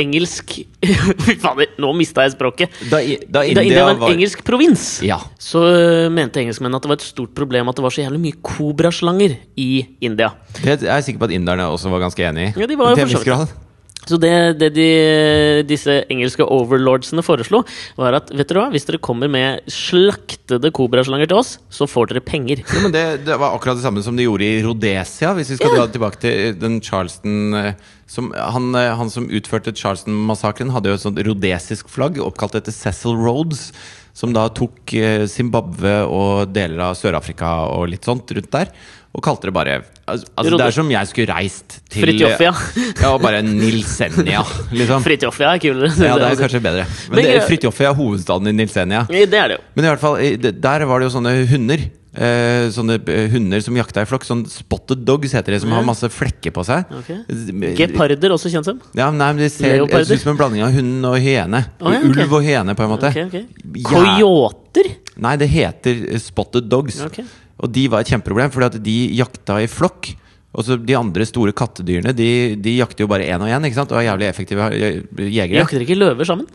[SPEAKER 2] engelsk (laughs) Fy fader, nå mista jeg språket!
[SPEAKER 1] Da, i- da India,
[SPEAKER 2] Da India var en
[SPEAKER 1] var
[SPEAKER 2] engelsk provins,
[SPEAKER 1] Ja.
[SPEAKER 2] så eh, mente engelskmennene at det var et stort problem at det var så jævlig mye kobraslanger i India.
[SPEAKER 1] Det er jeg sikker på at inderne også var ganske enig i.
[SPEAKER 2] Ja, de var jo
[SPEAKER 1] Til en
[SPEAKER 2] for så
[SPEAKER 1] viss
[SPEAKER 2] vidt.
[SPEAKER 1] grad.
[SPEAKER 2] Så det, det de, disse engelske overlordsene foreslo, var at vet dere hva, hvis dere kommer med slaktede kobraslanger til oss, så får dere
[SPEAKER 1] (laughs)
[SPEAKER 2] penger.
[SPEAKER 1] Jo, men det, det var akkurat det samme som de gjorde i Rhodesia. Hvis vi skal dra tilbake til eh, den Charleston eh, som, han, eh, han som utførte Charleston-massakren, hadde jo et sånt rhodesisk flagg oppkalt etter Cecil Rhodes. Som da tok eh, Zimbabwe og deler av Sør-Afrika og litt sånt rundt der. Og kalte det bare al- Altså Det
[SPEAKER 2] Rhodes-
[SPEAKER 1] er som jeg skulle reist til eh,
[SPEAKER 2] Fridtjofia.
[SPEAKER 1] Ja, og bare Nilsenia, liksom.
[SPEAKER 2] Fritjofia er kulere.
[SPEAKER 1] Ja, det er kanskje bedre.
[SPEAKER 2] Men
[SPEAKER 1] Men det-
[SPEAKER 2] jeg-
[SPEAKER 1] Fridtjofia er hovedstaden i Nilsenia.
[SPEAKER 2] Det er det jo.
[SPEAKER 1] Men i hvert fall, i- det- der var det jo sånne hunder. Eh, sånne eh, hunder som jakta i flokk. Sånn spotted dogs heter det, som
[SPEAKER 2] Mm.
[SPEAKER 1] har masse flekker på seg.
[SPEAKER 2] Ok.
[SPEAKER 1] Z-
[SPEAKER 2] Geparder, også kjent som.
[SPEAKER 1] Ja, men nei, men De ser det
[SPEAKER 2] Leoparder?
[SPEAKER 1] ser ut som en blanding av hund og hyene.
[SPEAKER 2] Å, ja, ok.
[SPEAKER 1] Ulv og hyene, på en måte.
[SPEAKER 2] Ok, ok.
[SPEAKER 1] Ja.
[SPEAKER 2] Coyoter?
[SPEAKER 1] Nei, det heter eh, spotted dogs.
[SPEAKER 2] Ok.
[SPEAKER 1] Og de var et kjempeproblem, fordi at de jakta i flokk. Og så De andre store kattedyrene De, de jakter jo bare én og én ikke sant? og er jævlig effektive eh, jegere.
[SPEAKER 2] Jakter ikke løver sammen?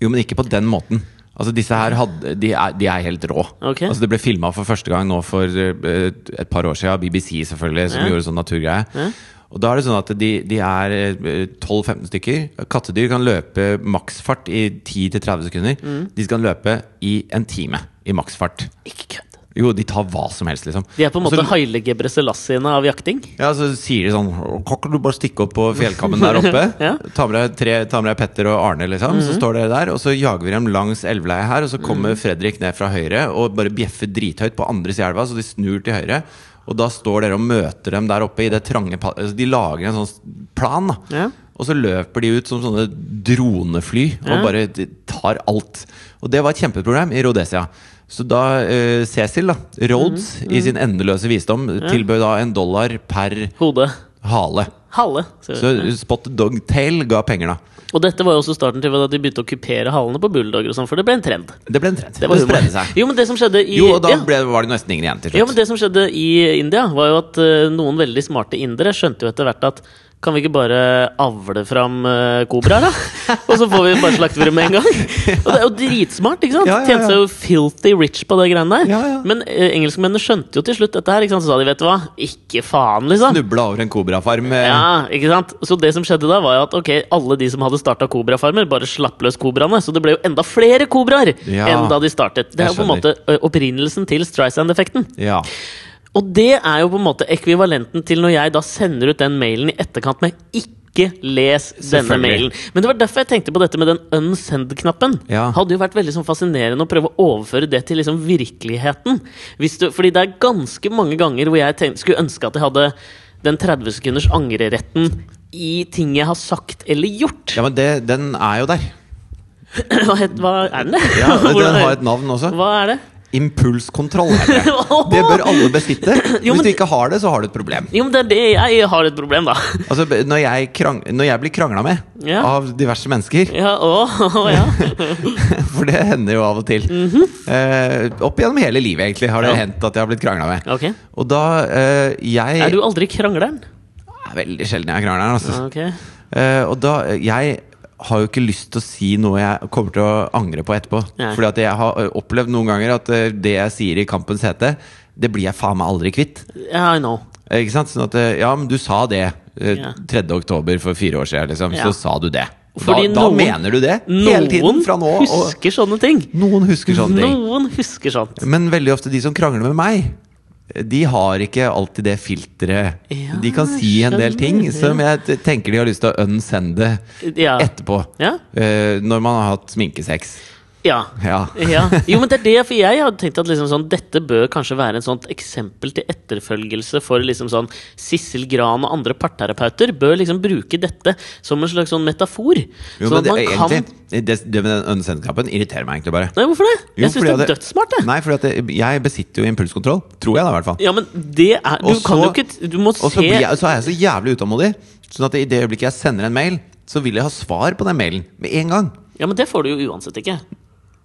[SPEAKER 1] Jo, men ikke på den måten. Altså Disse her hadde, de, er, de er helt rå.
[SPEAKER 2] Ok.
[SPEAKER 1] Altså Det ble filma for første gang nå for eh, et par år siden av BBC, selvfølgelig, som
[SPEAKER 2] Ja.
[SPEAKER 1] gjorde sånn naturgreie. Og da er det sånn at de, de er eh, 12-15 stykker. Kattedyr kan løpe maksfart i 10-30 sekunder.
[SPEAKER 2] Mm.
[SPEAKER 1] De skal løpe i en time i maksfart.
[SPEAKER 2] Ikke kødd.
[SPEAKER 1] Jo, de tar hva som helst, liksom.
[SPEAKER 2] De er på en
[SPEAKER 1] Og så-
[SPEAKER 2] måte Haile Gebrselassie-ene av jakting.
[SPEAKER 1] ja, så sier de sånn Kan ikke du bare stikke opp på fjellkammen der oppe?
[SPEAKER 2] (laughs) Ja. Mhm.
[SPEAKER 1] ta, med deg tre, ta med deg Petter og Arne, liksom. Så står dere der, og så jager vi dem langs elveleia her. Og så kommer Fredrik ned fra høyre og bare bjeffer drithøyt på andre sida av elva, så de snur til høyre. Og da står dere og møter dem der oppe i det trange pa- altså, De lager en sånn plan, da.
[SPEAKER 2] Ja.
[SPEAKER 1] Og så løper de ut som sånne dronefly og
[SPEAKER 2] Ja.
[SPEAKER 1] bare de tar alt. Og det var et kjempeproblem i Rhodesia. Så da eh, Cecil, da, Rhodes,
[SPEAKER 2] Mhm,
[SPEAKER 1] i sin endeløse visdom, tilbød da en dollar per
[SPEAKER 2] Hode.
[SPEAKER 1] hale.
[SPEAKER 2] Hale. ser vi.
[SPEAKER 1] Så Spot Dogtail ga penger, da.
[SPEAKER 2] Og dette var jo også starten til at de begynte å kupere halene på bulldogger og sånn, for det ble en trend.
[SPEAKER 1] Det ble en trend.
[SPEAKER 2] Det var humor.
[SPEAKER 1] spredde seg.
[SPEAKER 2] Jo, men det som skjedde i
[SPEAKER 1] Jo, og da
[SPEAKER 2] ja.
[SPEAKER 1] ble, var det nesten ingen igjen til
[SPEAKER 2] Ja, men
[SPEAKER 1] slutt.
[SPEAKER 2] Det som skjedde i India, var jo at eh, noen veldig smarte indere skjønte jo etter hvert at kan vi ikke bare avle fram uh,
[SPEAKER 1] (laughs)
[SPEAKER 2] kobraer, da? Og så får vi bare slakte dem med en gang. Og det er jo dritsmart, ikke sant?
[SPEAKER 1] Ja, ja, ja.
[SPEAKER 2] Tjente seg jo filthy rich på det greiene der.
[SPEAKER 1] Ja, ja.
[SPEAKER 2] Men eh, engelskmennene skjønte jo til slutt dette her, ikke sant? så sa de vet du hva, ikke faen, liksom.
[SPEAKER 1] Snubla over en kobrafarm. eh,
[SPEAKER 2] Ja, ikke sant? Så det som skjedde da, var jo at ok, alle de som hadde starta kobrafarmer, bare slapp løs kobraene. Så det ble jo enda flere kobraer
[SPEAKER 1] Ja.
[SPEAKER 2] enn da de startet. Det er
[SPEAKER 1] Jeg
[SPEAKER 2] jo på en måte ø, opprinnelsen til Streisand-effekten.
[SPEAKER 1] ja.
[SPEAKER 2] Og det er jo på en måte ekvivalenten til når jeg da sender ut den mailen i etterkant med 'ikke les denne
[SPEAKER 1] Selvfølgelig.
[SPEAKER 2] mailen'. Men det var derfor jeg tenkte på dette med den unsend-knappen.
[SPEAKER 1] Ja.
[SPEAKER 2] Hadde jo vært veldig sånn fascinerende å prøve å overføre det til liksom virkeligheten. Hvis du, fordi det er ganske mange ganger hvor jeg tenk- skulle ønske at jeg hadde den 30 sekunders angreretten i ting jeg har sagt eller gjort.
[SPEAKER 1] ja, men det, den er
[SPEAKER 2] (laughs)
[SPEAKER 1] jo der.
[SPEAKER 2] (clears throat) Hva, het, hva er den? (laughs)
[SPEAKER 1] Ja,
[SPEAKER 2] Hvordan
[SPEAKER 1] den
[SPEAKER 2] er-
[SPEAKER 1] har et navn også.
[SPEAKER 2] Hva er det?
[SPEAKER 1] Impulskontroll
[SPEAKER 2] (laughs)
[SPEAKER 1] heter det. Det bør alle besitte.
[SPEAKER 2] Jo,
[SPEAKER 1] Hvis
[SPEAKER 2] men-
[SPEAKER 1] du ikke har det, så har du et problem.
[SPEAKER 2] Jo, men det er det jeg har et problem, da. (laughs)
[SPEAKER 1] Altså, b- når jeg, krang når jeg blir krangla med
[SPEAKER 2] Ja.
[SPEAKER 1] av diverse mennesker,
[SPEAKER 2] Ja, å, (laughs)
[SPEAKER 1] (laughs)
[SPEAKER 2] ja. Mhm.
[SPEAKER 1] for det hender jo av og til eh, Opp gjennom hele livet, egentlig, har det
[SPEAKER 2] Ja.
[SPEAKER 1] hendt at jeg har blitt krangla med.
[SPEAKER 2] Ok.
[SPEAKER 1] Og da eh, jeg
[SPEAKER 2] Er du aldri krangleren?
[SPEAKER 1] Det er Veldig sjelden jeg krangler. Altså.
[SPEAKER 2] Ah, Ok.
[SPEAKER 1] Eh, og da eh, Jeg har jo ikke lyst til å si noe jeg kommer til å angre på etterpå.
[SPEAKER 2] Nei.
[SPEAKER 1] Fordi at jeg har eh, opplevd noen ganger at eh, det jeg sier i kampens hete, det blir jeg faen meg aldri kvitt.
[SPEAKER 2] Ja, I know.
[SPEAKER 1] Eh, Ikke sant? Sånn at eh, Ja, men du sa det eh,
[SPEAKER 2] Ja.
[SPEAKER 1] 3. oktober for fire år siden, liksom.
[SPEAKER 2] Ja.
[SPEAKER 1] Så sa du det. Da,
[SPEAKER 2] Fordi
[SPEAKER 1] da
[SPEAKER 2] noen-
[SPEAKER 1] mener du det hele
[SPEAKER 2] Noen
[SPEAKER 1] tiden fra nå og
[SPEAKER 2] husker sånne ting.
[SPEAKER 1] Noen husker sånne ting.
[SPEAKER 2] Noen husker sånn. sånt.
[SPEAKER 1] Men veldig ofte de som krangler med meg, de har ikke alltid det filteret.
[SPEAKER 2] Ja,
[SPEAKER 1] de kan si en del
[SPEAKER 2] skjønner,
[SPEAKER 1] ting
[SPEAKER 2] ja.
[SPEAKER 1] som jeg t- tenker de har lyst til å unsende
[SPEAKER 2] Ja.
[SPEAKER 1] etterpå.
[SPEAKER 2] Ja.
[SPEAKER 1] Eh, når man har hatt sminkesex.
[SPEAKER 2] Ja.
[SPEAKER 1] Ja.
[SPEAKER 2] ja. Jo, men det er det, for jeg hadde tenkt at liksom sånn, dette bør kanskje være en sånt eksempel til etterfølgelse for liksom sånn Sissel Gran og andre parterapeuter bør liksom bruke dette som en slags sånn metafor.
[SPEAKER 1] Jo, men
[SPEAKER 2] sånn at
[SPEAKER 1] det,
[SPEAKER 2] man kan
[SPEAKER 1] egentlig, det, det med den unsend-knappen irriterer meg egentlig bare.
[SPEAKER 2] Nei, hvorfor det?
[SPEAKER 1] Jo,
[SPEAKER 2] jeg syns det
[SPEAKER 1] fordi
[SPEAKER 2] er
[SPEAKER 1] at det-
[SPEAKER 2] dødssmart, det.
[SPEAKER 1] Nei, fordi at det, jeg besitter jo impulskontroll. Tror jeg, da, i hvert fall.
[SPEAKER 2] Ja, men det er Du
[SPEAKER 1] Og
[SPEAKER 2] kan jo
[SPEAKER 1] så-
[SPEAKER 2] ikke Du må
[SPEAKER 1] Og så,
[SPEAKER 2] se
[SPEAKER 1] blir jeg, så er jeg så jævlig utålmodig. Sånn at i det øyeblikket jeg sender en mail, så vil jeg ha svar på den mailen med en gang.
[SPEAKER 2] Ja, men det får du jo uansett ikke.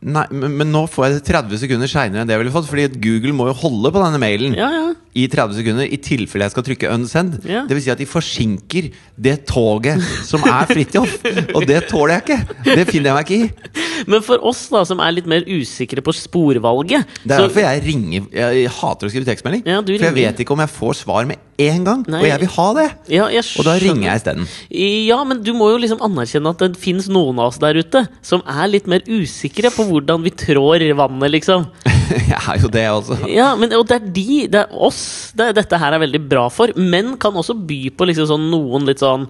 [SPEAKER 1] Nei, men, men nå får jeg det 30 sekunder seinere enn det jeg ville fått. Fordi at Google må jo holde på denne mailen
[SPEAKER 2] Ja, ja.
[SPEAKER 1] i 30 sekunder i tilfelle jeg skal trykke unsend.
[SPEAKER 2] Ja.
[SPEAKER 1] Det vil si at de forsinker det toget som er Fridtjof. og det tåler jeg ikke! Det finner jeg meg ikke i.
[SPEAKER 2] Men for oss da, som er litt mer usikre på sporvalget
[SPEAKER 1] Det er
[SPEAKER 2] så-
[SPEAKER 1] derfor jeg ringer Jeg hater å skrive tekstmelding.
[SPEAKER 2] Ja, du
[SPEAKER 1] for jeg
[SPEAKER 2] ringer.
[SPEAKER 1] vet ikke om jeg får svar med en gang.
[SPEAKER 2] Nei.
[SPEAKER 1] Og jeg vil ha det!
[SPEAKER 2] ja, jeg
[SPEAKER 1] Og da
[SPEAKER 2] skjønner.
[SPEAKER 1] ringer jeg isteden. (laughs)
[SPEAKER 2] Ja, men du må jo liksom anerkjenne at det fins noen av oss der ute som er litt mer usikre på hvordan vi trår vannet, liksom.
[SPEAKER 1] jeg er jo det, altså.
[SPEAKER 2] Ja, men, Og det er de, det er oss, det, er- dette her er veldig bra for. Men kan også by på liksom sånn noen litt sånn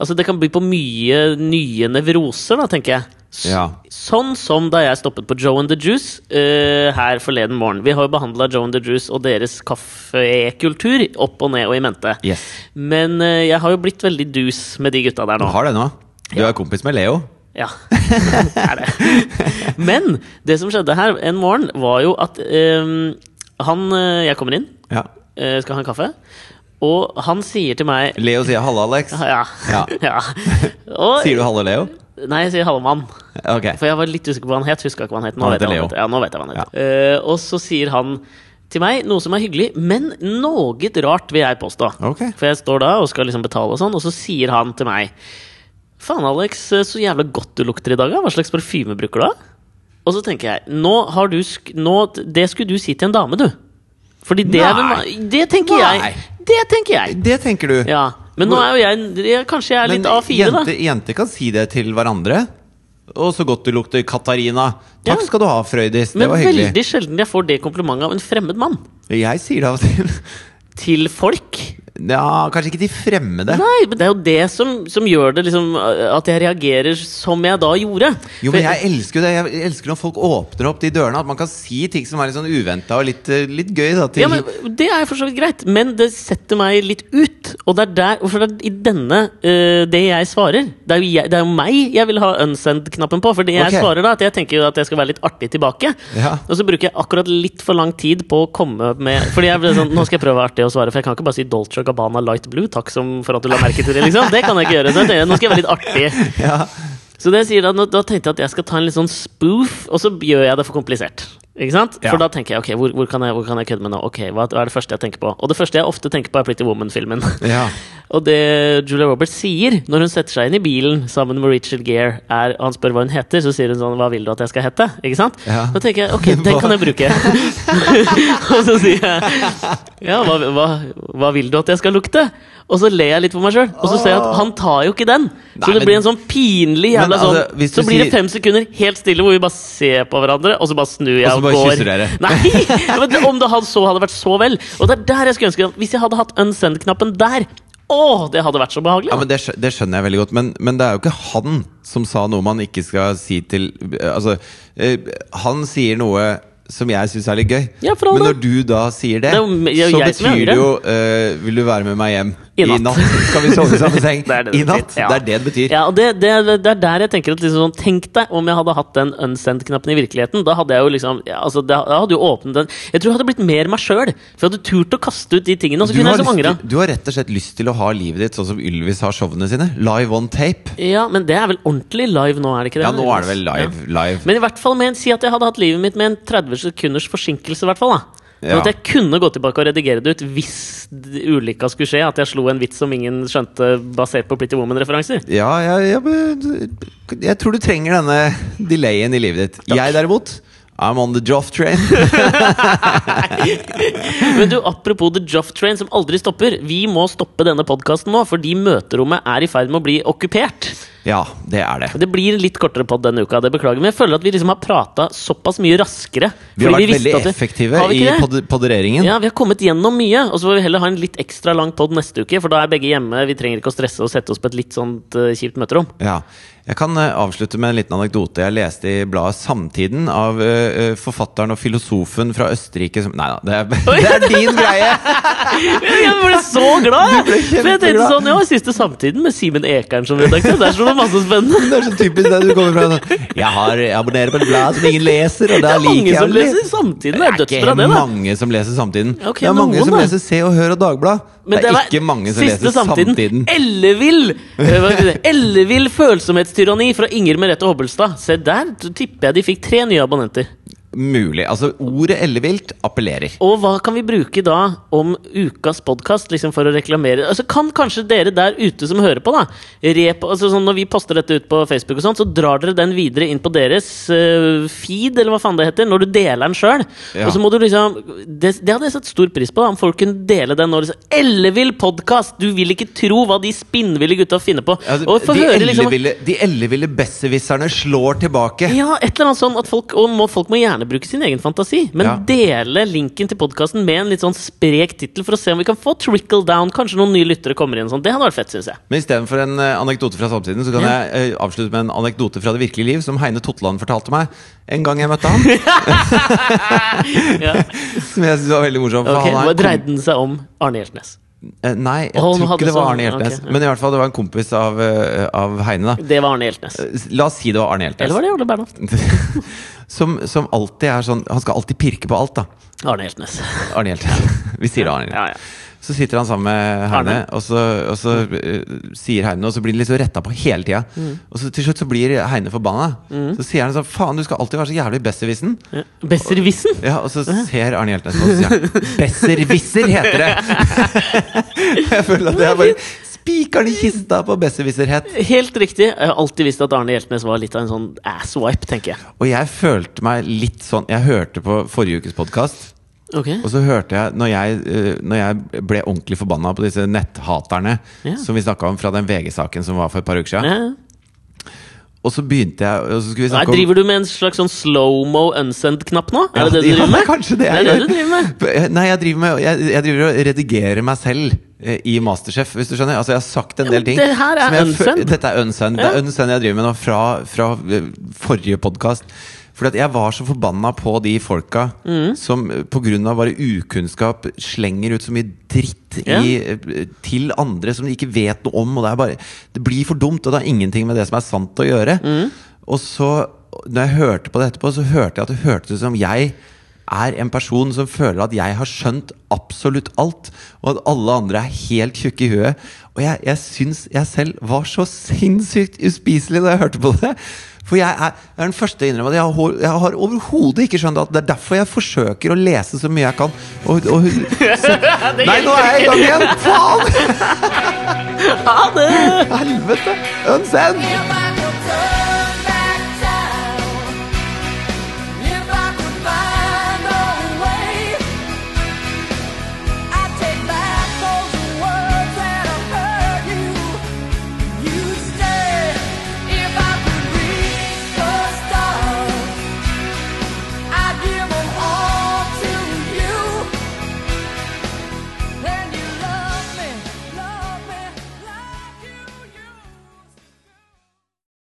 [SPEAKER 2] Altså, det kan by på mye nye nevroser, da, tenker jeg. S-
[SPEAKER 1] Ja.
[SPEAKER 2] Sånn som da jeg stoppet på Joe and the Juice eh, her forleden morgen. Vi har jo behandla Joe and the Juice og deres kaffekultur opp og ned og i mente.
[SPEAKER 1] Yes.
[SPEAKER 2] Men eh, jeg har jo blitt veldig dus med de gutta der
[SPEAKER 1] Du
[SPEAKER 2] nå.
[SPEAKER 1] har det nå. Du er kompis med Leo.
[SPEAKER 2] Ja, (laughs) det er det. Men det som skjedde her en morgen, var jo at eh, han eh, Jeg kommer inn,
[SPEAKER 1] Ja.
[SPEAKER 2] eh, skal ha en kaffe, og han sier til meg
[SPEAKER 1] Leo sier 'halla, Alex'.
[SPEAKER 2] Ja.
[SPEAKER 1] Ja.
[SPEAKER 2] ja. (laughs) Og,
[SPEAKER 1] Sier du 'halla, Leo'?
[SPEAKER 2] Nei, jeg sier Hallemann.
[SPEAKER 1] Ok.
[SPEAKER 2] For jeg var litt usikker på hva han het. Huska ikke hva han het. Nå,
[SPEAKER 1] Han
[SPEAKER 2] vet,
[SPEAKER 1] heter
[SPEAKER 2] jeg hva
[SPEAKER 1] Leo.
[SPEAKER 2] han heter. Ja, nå vet jeg hva han heter. Eh, og så sier han til meg noe som er hyggelig, men noe rart, vil jeg påstå.
[SPEAKER 1] Ok.
[SPEAKER 2] For jeg står da og skal liksom betale og sånn, og så sier han eh, til meg Faen, Alex, så jævla godt du lukter i dag, da. Hva slags parfyme bruker du, da? Og så tenker jeg nå har du sk nå, Det skulle du si til en dame, du. Fordi det er
[SPEAKER 1] Nei.
[SPEAKER 2] vel Det tenker
[SPEAKER 1] Nei.
[SPEAKER 2] jeg. Det tenker jeg.
[SPEAKER 1] Det tenker du.
[SPEAKER 2] Ja. Men nå er jo jeg, jeg Kanskje jeg er litt A4,
[SPEAKER 1] jenter
[SPEAKER 2] da.
[SPEAKER 1] jenter kan si det til hverandre. Å, så godt du lukter, Katarina. Takk
[SPEAKER 2] Ja.
[SPEAKER 1] skal du ha, Frøydis. Det
[SPEAKER 2] Men
[SPEAKER 1] var hyggelig.
[SPEAKER 2] veldig sjelden jeg får det komplimentet av en fremmed mann.
[SPEAKER 1] Jeg sier det av og til. (laughs)
[SPEAKER 2] Til folk.
[SPEAKER 1] Ja, kanskje ikke de fremmede.
[SPEAKER 2] Nei, men det er jo det som, som gjør det liksom at jeg reagerer som jeg da gjorde.
[SPEAKER 1] Jo, men
[SPEAKER 2] For-
[SPEAKER 1] jeg elsker jo det. Jeg elsker når folk åpner opp de dørene. At man kan si ting som er litt sånn uventa og litt, eh, litt gøy. Da, til
[SPEAKER 2] Ja, men Det er for så vidt greit, men det setter meg litt ut. Og det er der, og for det er i denne eh, det jeg svarer Det er jo, jeg, det er jo meg jeg vil ha unsend-knappen på. For det jeg
[SPEAKER 1] Ok.
[SPEAKER 2] svarer da, at jeg tenker jo at jeg skal være litt artig tilbake.
[SPEAKER 1] Ja.
[SPEAKER 2] Og så bruker jeg akkurat litt for lang tid på å komme med Fordi jeg ble sånn, nå skal jeg prøve å være artig og svare, for jeg kan ikke bare si Dolce Gabbana Light Blue. Takk som for at du la merke til det, liksom. Det kan jeg ikke gjøre. Så jeg tenker, nå skal jeg være litt artig.
[SPEAKER 1] (laughs) Ja.
[SPEAKER 2] Så det jeg sier da, nå- da tenkte jeg at jeg skal ta en litt sånn spoof, og så gjør jeg det for komplisert. Ikke sant?
[SPEAKER 1] Ja.
[SPEAKER 2] For da tenker jeg ok, hvor, hvor, kan jeg, hvor kan jeg kødde med nå? Ok, hva, hva er det første jeg tenker på? Og det første jeg ofte tenker på, er Pretty Woman-filmen. (laughs)
[SPEAKER 1] Ja.
[SPEAKER 2] og det Julia Roberts sier når hun setter seg inn i bilen sammen med Richard Gere, er, og han spør hva hun heter, så sier hun sånn Hva vil du at jeg skal hete? Ikke sant?
[SPEAKER 1] Ja.
[SPEAKER 2] Da tenker jeg ok, den kan jeg
[SPEAKER 1] (laughs)
[SPEAKER 2] bruke. og så sier jeg ja, hva, hva, hva vil du at jeg skal lukte? Og så ler jeg litt for meg sjøl, og så ser jeg at han tar jo ikke den. Så
[SPEAKER 1] Nei,
[SPEAKER 2] det
[SPEAKER 1] men-
[SPEAKER 2] blir en sånn pinlig jævla
[SPEAKER 1] Men,
[SPEAKER 2] sånn
[SPEAKER 1] altså, hvis du
[SPEAKER 2] Så blir det
[SPEAKER 1] sier-
[SPEAKER 2] fem sekunder helt stille hvor vi bare ser på hverandre, og så bare snur jeg
[SPEAKER 1] Og så
[SPEAKER 2] og,
[SPEAKER 1] bare
[SPEAKER 2] går.
[SPEAKER 1] kysser dere.
[SPEAKER 2] Nei! Men det- om det hadde så hadde vært så vel. Og det er der jeg skulle ønske at Hvis jeg hadde hatt unsend-knappen der, å, det hadde vært så behagelig.
[SPEAKER 1] Ja,
[SPEAKER 2] da.
[SPEAKER 1] men det, skjø- det skjønner jeg veldig godt, men, men det er jo ikke han som sa noe man ikke skal si til eh, Altså, eh, han sier noe som jeg syns er litt gøy,
[SPEAKER 2] Ja, for all
[SPEAKER 1] men
[SPEAKER 2] del.
[SPEAKER 1] når du da sier det,
[SPEAKER 2] Det er jo me- jeg-
[SPEAKER 1] så
[SPEAKER 2] jeg som
[SPEAKER 1] betyr
[SPEAKER 2] er yngre.
[SPEAKER 1] det jo eh, 'Vil du være med meg hjem
[SPEAKER 2] I natt.»
[SPEAKER 1] Skal vi sove i samme seng?
[SPEAKER 2] (laughs) Det er det det
[SPEAKER 1] I
[SPEAKER 2] betyr,
[SPEAKER 1] natt?
[SPEAKER 2] ja.
[SPEAKER 1] Det er det det betyr.
[SPEAKER 2] Ja, og det, det, det er der jeg tenker at liksom sånn, Tenk deg om jeg hadde hatt den unsend-knappen i virkeligheten. Da hadde jeg jo liksom ja, altså, det, Jeg hadde jo åpnet den Jeg tror jeg hadde blitt mer meg sjøl. For jeg hadde turt å kaste ut de tingene. Og så
[SPEAKER 1] du,
[SPEAKER 2] kunne
[SPEAKER 1] har
[SPEAKER 2] jeg liksom
[SPEAKER 1] lyst,
[SPEAKER 2] angra.
[SPEAKER 1] til- du har rett og slett lyst til å ha livet ditt sånn som Ylvis har showene sine. Live on tape.
[SPEAKER 2] Ja, men det er vel ordentlig live nå, er det ikke det?
[SPEAKER 1] Ja, nå er det vel
[SPEAKER 2] Ja.
[SPEAKER 1] live. live.
[SPEAKER 2] Men i hvert fall med en, si at jeg hadde hatt livet mitt med en 30 sekunders forsinkelse. i hvert fall da Sånn
[SPEAKER 1] Ja.
[SPEAKER 2] At jeg kunne gå tilbake og redigere det ut hvis d- ulykka skulle skje. At jeg slo en vits som ingen skjønte, basert på Pretty Woman-referanser.
[SPEAKER 1] Ja, ja, ja, men jeg tror du trenger denne delayen i livet ditt. Jeg derimot, I'm on the joff
[SPEAKER 2] (laughs)
[SPEAKER 1] train.
[SPEAKER 2] Men du, apropos The Joff Train, som aldri stopper. Vi må stoppe denne podkasten nå, fordi møterommet er i ferd med å bli okkupert.
[SPEAKER 1] Ja, det er det.
[SPEAKER 2] Det blir en litt kortere pod denne uka, det beklager. Men jeg føler at vi liksom har prata såpass mye raskere.
[SPEAKER 1] Vi har
[SPEAKER 2] fordi
[SPEAKER 1] vært
[SPEAKER 2] visste
[SPEAKER 1] veldig
[SPEAKER 2] at det-
[SPEAKER 1] effektive
[SPEAKER 2] Har vi
[SPEAKER 1] i
[SPEAKER 2] ikke det?
[SPEAKER 1] pod- poddereringen.
[SPEAKER 2] Ja, vi har kommet gjennom mye, og så får vi heller ha en litt ekstra lang pod neste uke, for da er begge hjemme. Vi trenger ikke å stresse og sette oss på et litt sånt eh, kjipt møterom.
[SPEAKER 1] Ja. Jeg kan eh, avslutte med en liten anekdote jeg leste i bladet Samtiden av eh, eh, forfatteren og filosofen fra Østerrike som Nei da, det er, (laughs) det er din greie!
[SPEAKER 2] (laughs) Jeg ble så glad! jeg.
[SPEAKER 1] Du ble
[SPEAKER 2] For jeg tenkte
[SPEAKER 1] kjempeglad.
[SPEAKER 2] sånn, ja, Siste Samtiden med Simen Ekern som redaktør. Der sto det masse spennende.
[SPEAKER 1] Det er så typisk det du kommer fra. sånn, Jeg har jeg abonnerer på et blad som ingen leser, og da
[SPEAKER 2] (laughs) Det er
[SPEAKER 1] liker
[SPEAKER 2] mange
[SPEAKER 1] jeg å
[SPEAKER 2] som
[SPEAKER 1] le-
[SPEAKER 2] leser Samtiden. Det er
[SPEAKER 1] Det er
[SPEAKER 2] dødsbra,
[SPEAKER 1] ikke
[SPEAKER 2] det, da.
[SPEAKER 1] mange som leser Samtiden.
[SPEAKER 2] Ok,
[SPEAKER 1] det er mange
[SPEAKER 2] noen
[SPEAKER 1] som
[SPEAKER 2] da.
[SPEAKER 1] leser Se og Hør og Dagbladet. Det,
[SPEAKER 2] Men
[SPEAKER 1] er
[SPEAKER 2] var
[SPEAKER 1] ikke mange som
[SPEAKER 2] siste
[SPEAKER 1] leser Samtiden.
[SPEAKER 2] Ellevill! eh, hva heter det? Ellevill følsomhetstyranni fra Inger Merete Hobbelstad. Se der, t- tipper jeg de fikk tre nye abonnenter.
[SPEAKER 1] Mulig. Altså, ordet ellevilt appellerer.
[SPEAKER 2] Og hva kan vi bruke da om ukas podkast liksom for å reklamere? Altså Kan kanskje dere der ute som hører på, da rep, altså sånn Når vi poster dette ut på Facebook, og sånt, så drar dere den videre inn på deres eh, feed, eller hva faen det heter, når du deler den sjøl.
[SPEAKER 1] Ja.
[SPEAKER 2] Og så må du liksom det, det hadde jeg satt stor pris på, da om folk kunne dele den nå. Liksom, ellevill podkast! Du vil ikke tro hva de spinnville gutta finner på.
[SPEAKER 1] Altså,
[SPEAKER 2] og få
[SPEAKER 1] de,
[SPEAKER 2] høre liksom
[SPEAKER 1] elleville, de elleville besserwisserne slår tilbake.
[SPEAKER 2] ja, et eller annet sånn at folk, og må, folk må gjerne bruke sin egen fantasi, men
[SPEAKER 1] Ja.
[SPEAKER 2] dele linken til podkasten med en litt sånn sprek tittel for å se om vi kan få trickle down. Kanskje noen nye lyttere kommer inn. og Sånn. Det hadde vært
[SPEAKER 1] (laughs)
[SPEAKER 2] fett, syns jeg.
[SPEAKER 1] Men istedenfor en eh, anekdote fra samtiden, så kan
[SPEAKER 2] Ja.
[SPEAKER 1] jeg eh, avslutte med en anekdote fra det virkelige liv, som Heine Totland fortalte meg en gang jeg møtte
[SPEAKER 2] (laughs)
[SPEAKER 1] han.
[SPEAKER 2] Ja.
[SPEAKER 1] som jeg synes var veldig morsom. for
[SPEAKER 2] Ok,
[SPEAKER 1] han er
[SPEAKER 2] Hva
[SPEAKER 1] en
[SPEAKER 2] dreide den seg om Arne Hjeltnes?
[SPEAKER 1] kom- eh, Nei, jeg
[SPEAKER 2] Å, nå
[SPEAKER 1] tror
[SPEAKER 2] hadde
[SPEAKER 1] ikke det var
[SPEAKER 2] sånn-
[SPEAKER 1] Arne Hjeltnes.
[SPEAKER 2] ok, ja.
[SPEAKER 1] Men i hvert fall det var en kompis av, eh, av Heine, da. Eh,
[SPEAKER 2] Det var Arne Hjeltnes.
[SPEAKER 1] La oss si det var Arne Hjeltnes.
[SPEAKER 2] Eller var det Ole Bernhoft?
[SPEAKER 1] som, som alltid er sånn Han skal alltid pirke på alt, da.
[SPEAKER 2] Arne Hjeltnes.
[SPEAKER 1] Arne Hjeltnes. (laughs) Vi sier det, Arne.
[SPEAKER 2] Ja, ja.
[SPEAKER 1] Så sitter han sammen med Heine,
[SPEAKER 2] Arne. Mm.
[SPEAKER 1] og så, og så eh, sier Heine Og så blir han liksom retta på hele tida. Og så til slutt så blir Heine forbanna.
[SPEAKER 2] Mm.
[SPEAKER 1] Så sier han sånn Faen, du skal alltid være så jævlig besserwissen.
[SPEAKER 2] Ja. Besserwissen!
[SPEAKER 1] Ja, og så ser Arne
[SPEAKER 2] (laughs) (laughs)
[SPEAKER 1] Hjeltnes på og så sier han, Besserwisser heter det! jeg føler at jeg bare Spikeren i kista på besserwisserhet!
[SPEAKER 2] Helt riktig. Jeg har alltid visst at Arne Hjeltnes var litt av en sånn asswipe, tenker jeg.
[SPEAKER 1] Og jeg følte meg litt sånn Jeg hørte på forrige ukes podkast.
[SPEAKER 2] Ok,
[SPEAKER 1] Og så hørte jeg når, jeg, eh, når jeg ble ordentlig forbanna på disse netthaterne
[SPEAKER 2] Ja.
[SPEAKER 1] som vi snakka om fra den VG-saken som var for et par uker siden.
[SPEAKER 2] ja.
[SPEAKER 1] Og så begynte jeg og så skulle vi
[SPEAKER 2] Nei,
[SPEAKER 1] snakke om
[SPEAKER 2] driver du med en slags sånn slow-mo unsend-knapp nå? Er det
[SPEAKER 1] (laughs)
[SPEAKER 2] det du
[SPEAKER 1] Ja,
[SPEAKER 2] driver med?
[SPEAKER 1] er kanskje det jeg
[SPEAKER 2] Det er det
[SPEAKER 1] gjør.
[SPEAKER 2] du driver
[SPEAKER 1] (laughs)
[SPEAKER 2] med.
[SPEAKER 1] Nei, jeg driver, med, jeg, jeg driver og redigerer meg selv eh, i Masterchef, hvis du skjønner. Altså, jeg har sagt en
[SPEAKER 2] men
[SPEAKER 1] del ting.
[SPEAKER 2] det her er
[SPEAKER 1] som jeg fø-
[SPEAKER 2] unsend.
[SPEAKER 1] Dette er unsend. Det
[SPEAKER 2] Ja.
[SPEAKER 1] er unsend jeg driver med nå fra, fra eh, forrige podkast. Fordi at jeg var så forbanna på de folka
[SPEAKER 2] Mm.
[SPEAKER 1] som eh, på grunn av bare ukunnskap slenger ut så mye dritt
[SPEAKER 2] Ja.
[SPEAKER 1] i, eh, til andre som de ikke vet noe om. Og det, er bare, det blir for dumt, og det har ingenting med det som er sant å gjøre. Og så, når jeg hørte på det etterpå, så hørte jeg at det hørtes ut som jeg er en person som føler at jeg har skjønt absolutt alt, og at alle andre er helt tjukke i huet. Og jeg, jeg syns jeg selv var så sinnssykt uspiselig da jeg hørte på det. For jeg er, jeg er den første til å innrømme at jeg har, jeg har overhodet ikke skjønt at det er derfor jeg forsøker å lese så mye jeg kan. Og, og, så, nei, nå er jeg i gang igjen! Faen!
[SPEAKER 2] (laughs) Ha det!
[SPEAKER 1] Helvete! Unsend!
[SPEAKER 3] Nobody